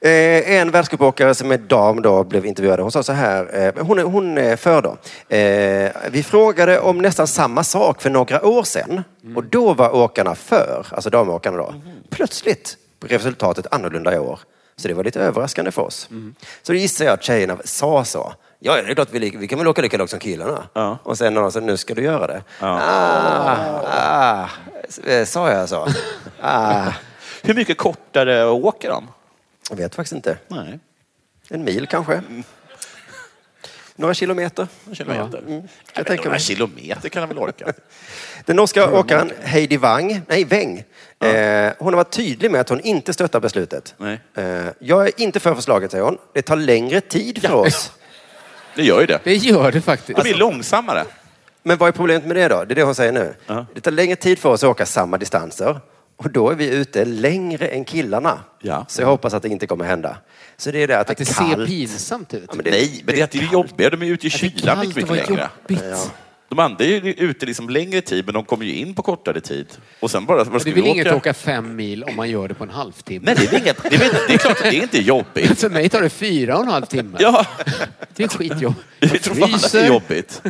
Eh, en världscupåkare som är dam då blev intervjuad. Hon sa så här, eh, hon, är- hon är för då. Eh, vi frågade om nästan samma sak för några år sedan. Och då var åkarna för, alltså damåkarna då. Plötsligt blev resultatet annorlunda i år. Så det var lite överraskande för oss. Så då gissar jag att tjejerna sa så. Ja, det är klart vi, li- vi kan väl åka lika långt som killarna. Och sen när de sa, nu ska du göra det. Ah, ah, s- eh, sa jag så? Ah.
Hur mycket kortare åker de? Mm.
Jag vet faktiskt inte.
Nej.
En mil kanske. Några kilometer.
Kilometer.
Ja. Mm.
Jag
tänker
några
mig.
kilometer kan de väl orka?
Den norska åkaren Heidi Wang, nej Weng, eh, hon har varit tydlig med att hon inte stöttar beslutet. Eh, jag är inte för förslaget, säger hon. Det tar längre tid för oss.
Det gör ju det.
Det alltså- gör det faktiskt.
Det blir långsammare.
Men vad är problemet med det då? Det är det hon säger nu. Det tar längre tid för oss att åka samma distanser. Och då är vi ute längre än killarna. Så jag hoppas att det inte kommer hända. Så det är det att,
Att det
är kallt.
ser pinsamt ut.
Nej, men det är att det är jobbigare. De är ute i kylan
kallt
mycket, mycket
och vad
längre.
jobbigt.
Ja. De andra är ju ute liksom längre tid, men de kommer ju in på kortare tid. Och sen bara, vad
Det
ska
vill
vi
inget
åka?
åka fem mil om man gör det på en halvtimme.
Nej, det är väl inget. Det är, väl- det är klart att det är inte är jobbigt.
För mig tar det fyra och en halv timme.
Ja.
Det är skitjobb.
Jag tror fan att det är jobbigt.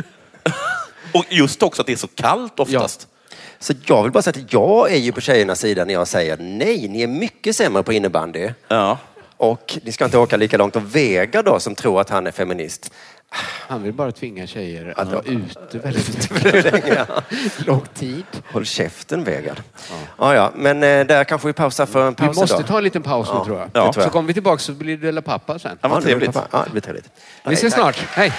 Och just också att det är så kallt oftast.
Så jag vill bara säga att jag är ju på tjejernas sida när jag säger nej, ni är mycket sämre på innebandy.
Ja.
Och ni ska inte åka lika långt. Och Vega då, som tror att han är feminist.
Han vill bara tvinga tjejer att vara ute väldigt
länge.
mycket. Lång tid.
Håll käften Vegard. Ja. ja, men eh, där kanske vi pausar för en
Vi
paus
måste
idag.
ta en liten paus nu
Ja,
tror jag.
det tror jag.
Så kommer vi tillbaka så blir det Della Pappa sen.
Ja, det blir pappa. Ja, det blir trevligt.
Vi ses snart. Hej!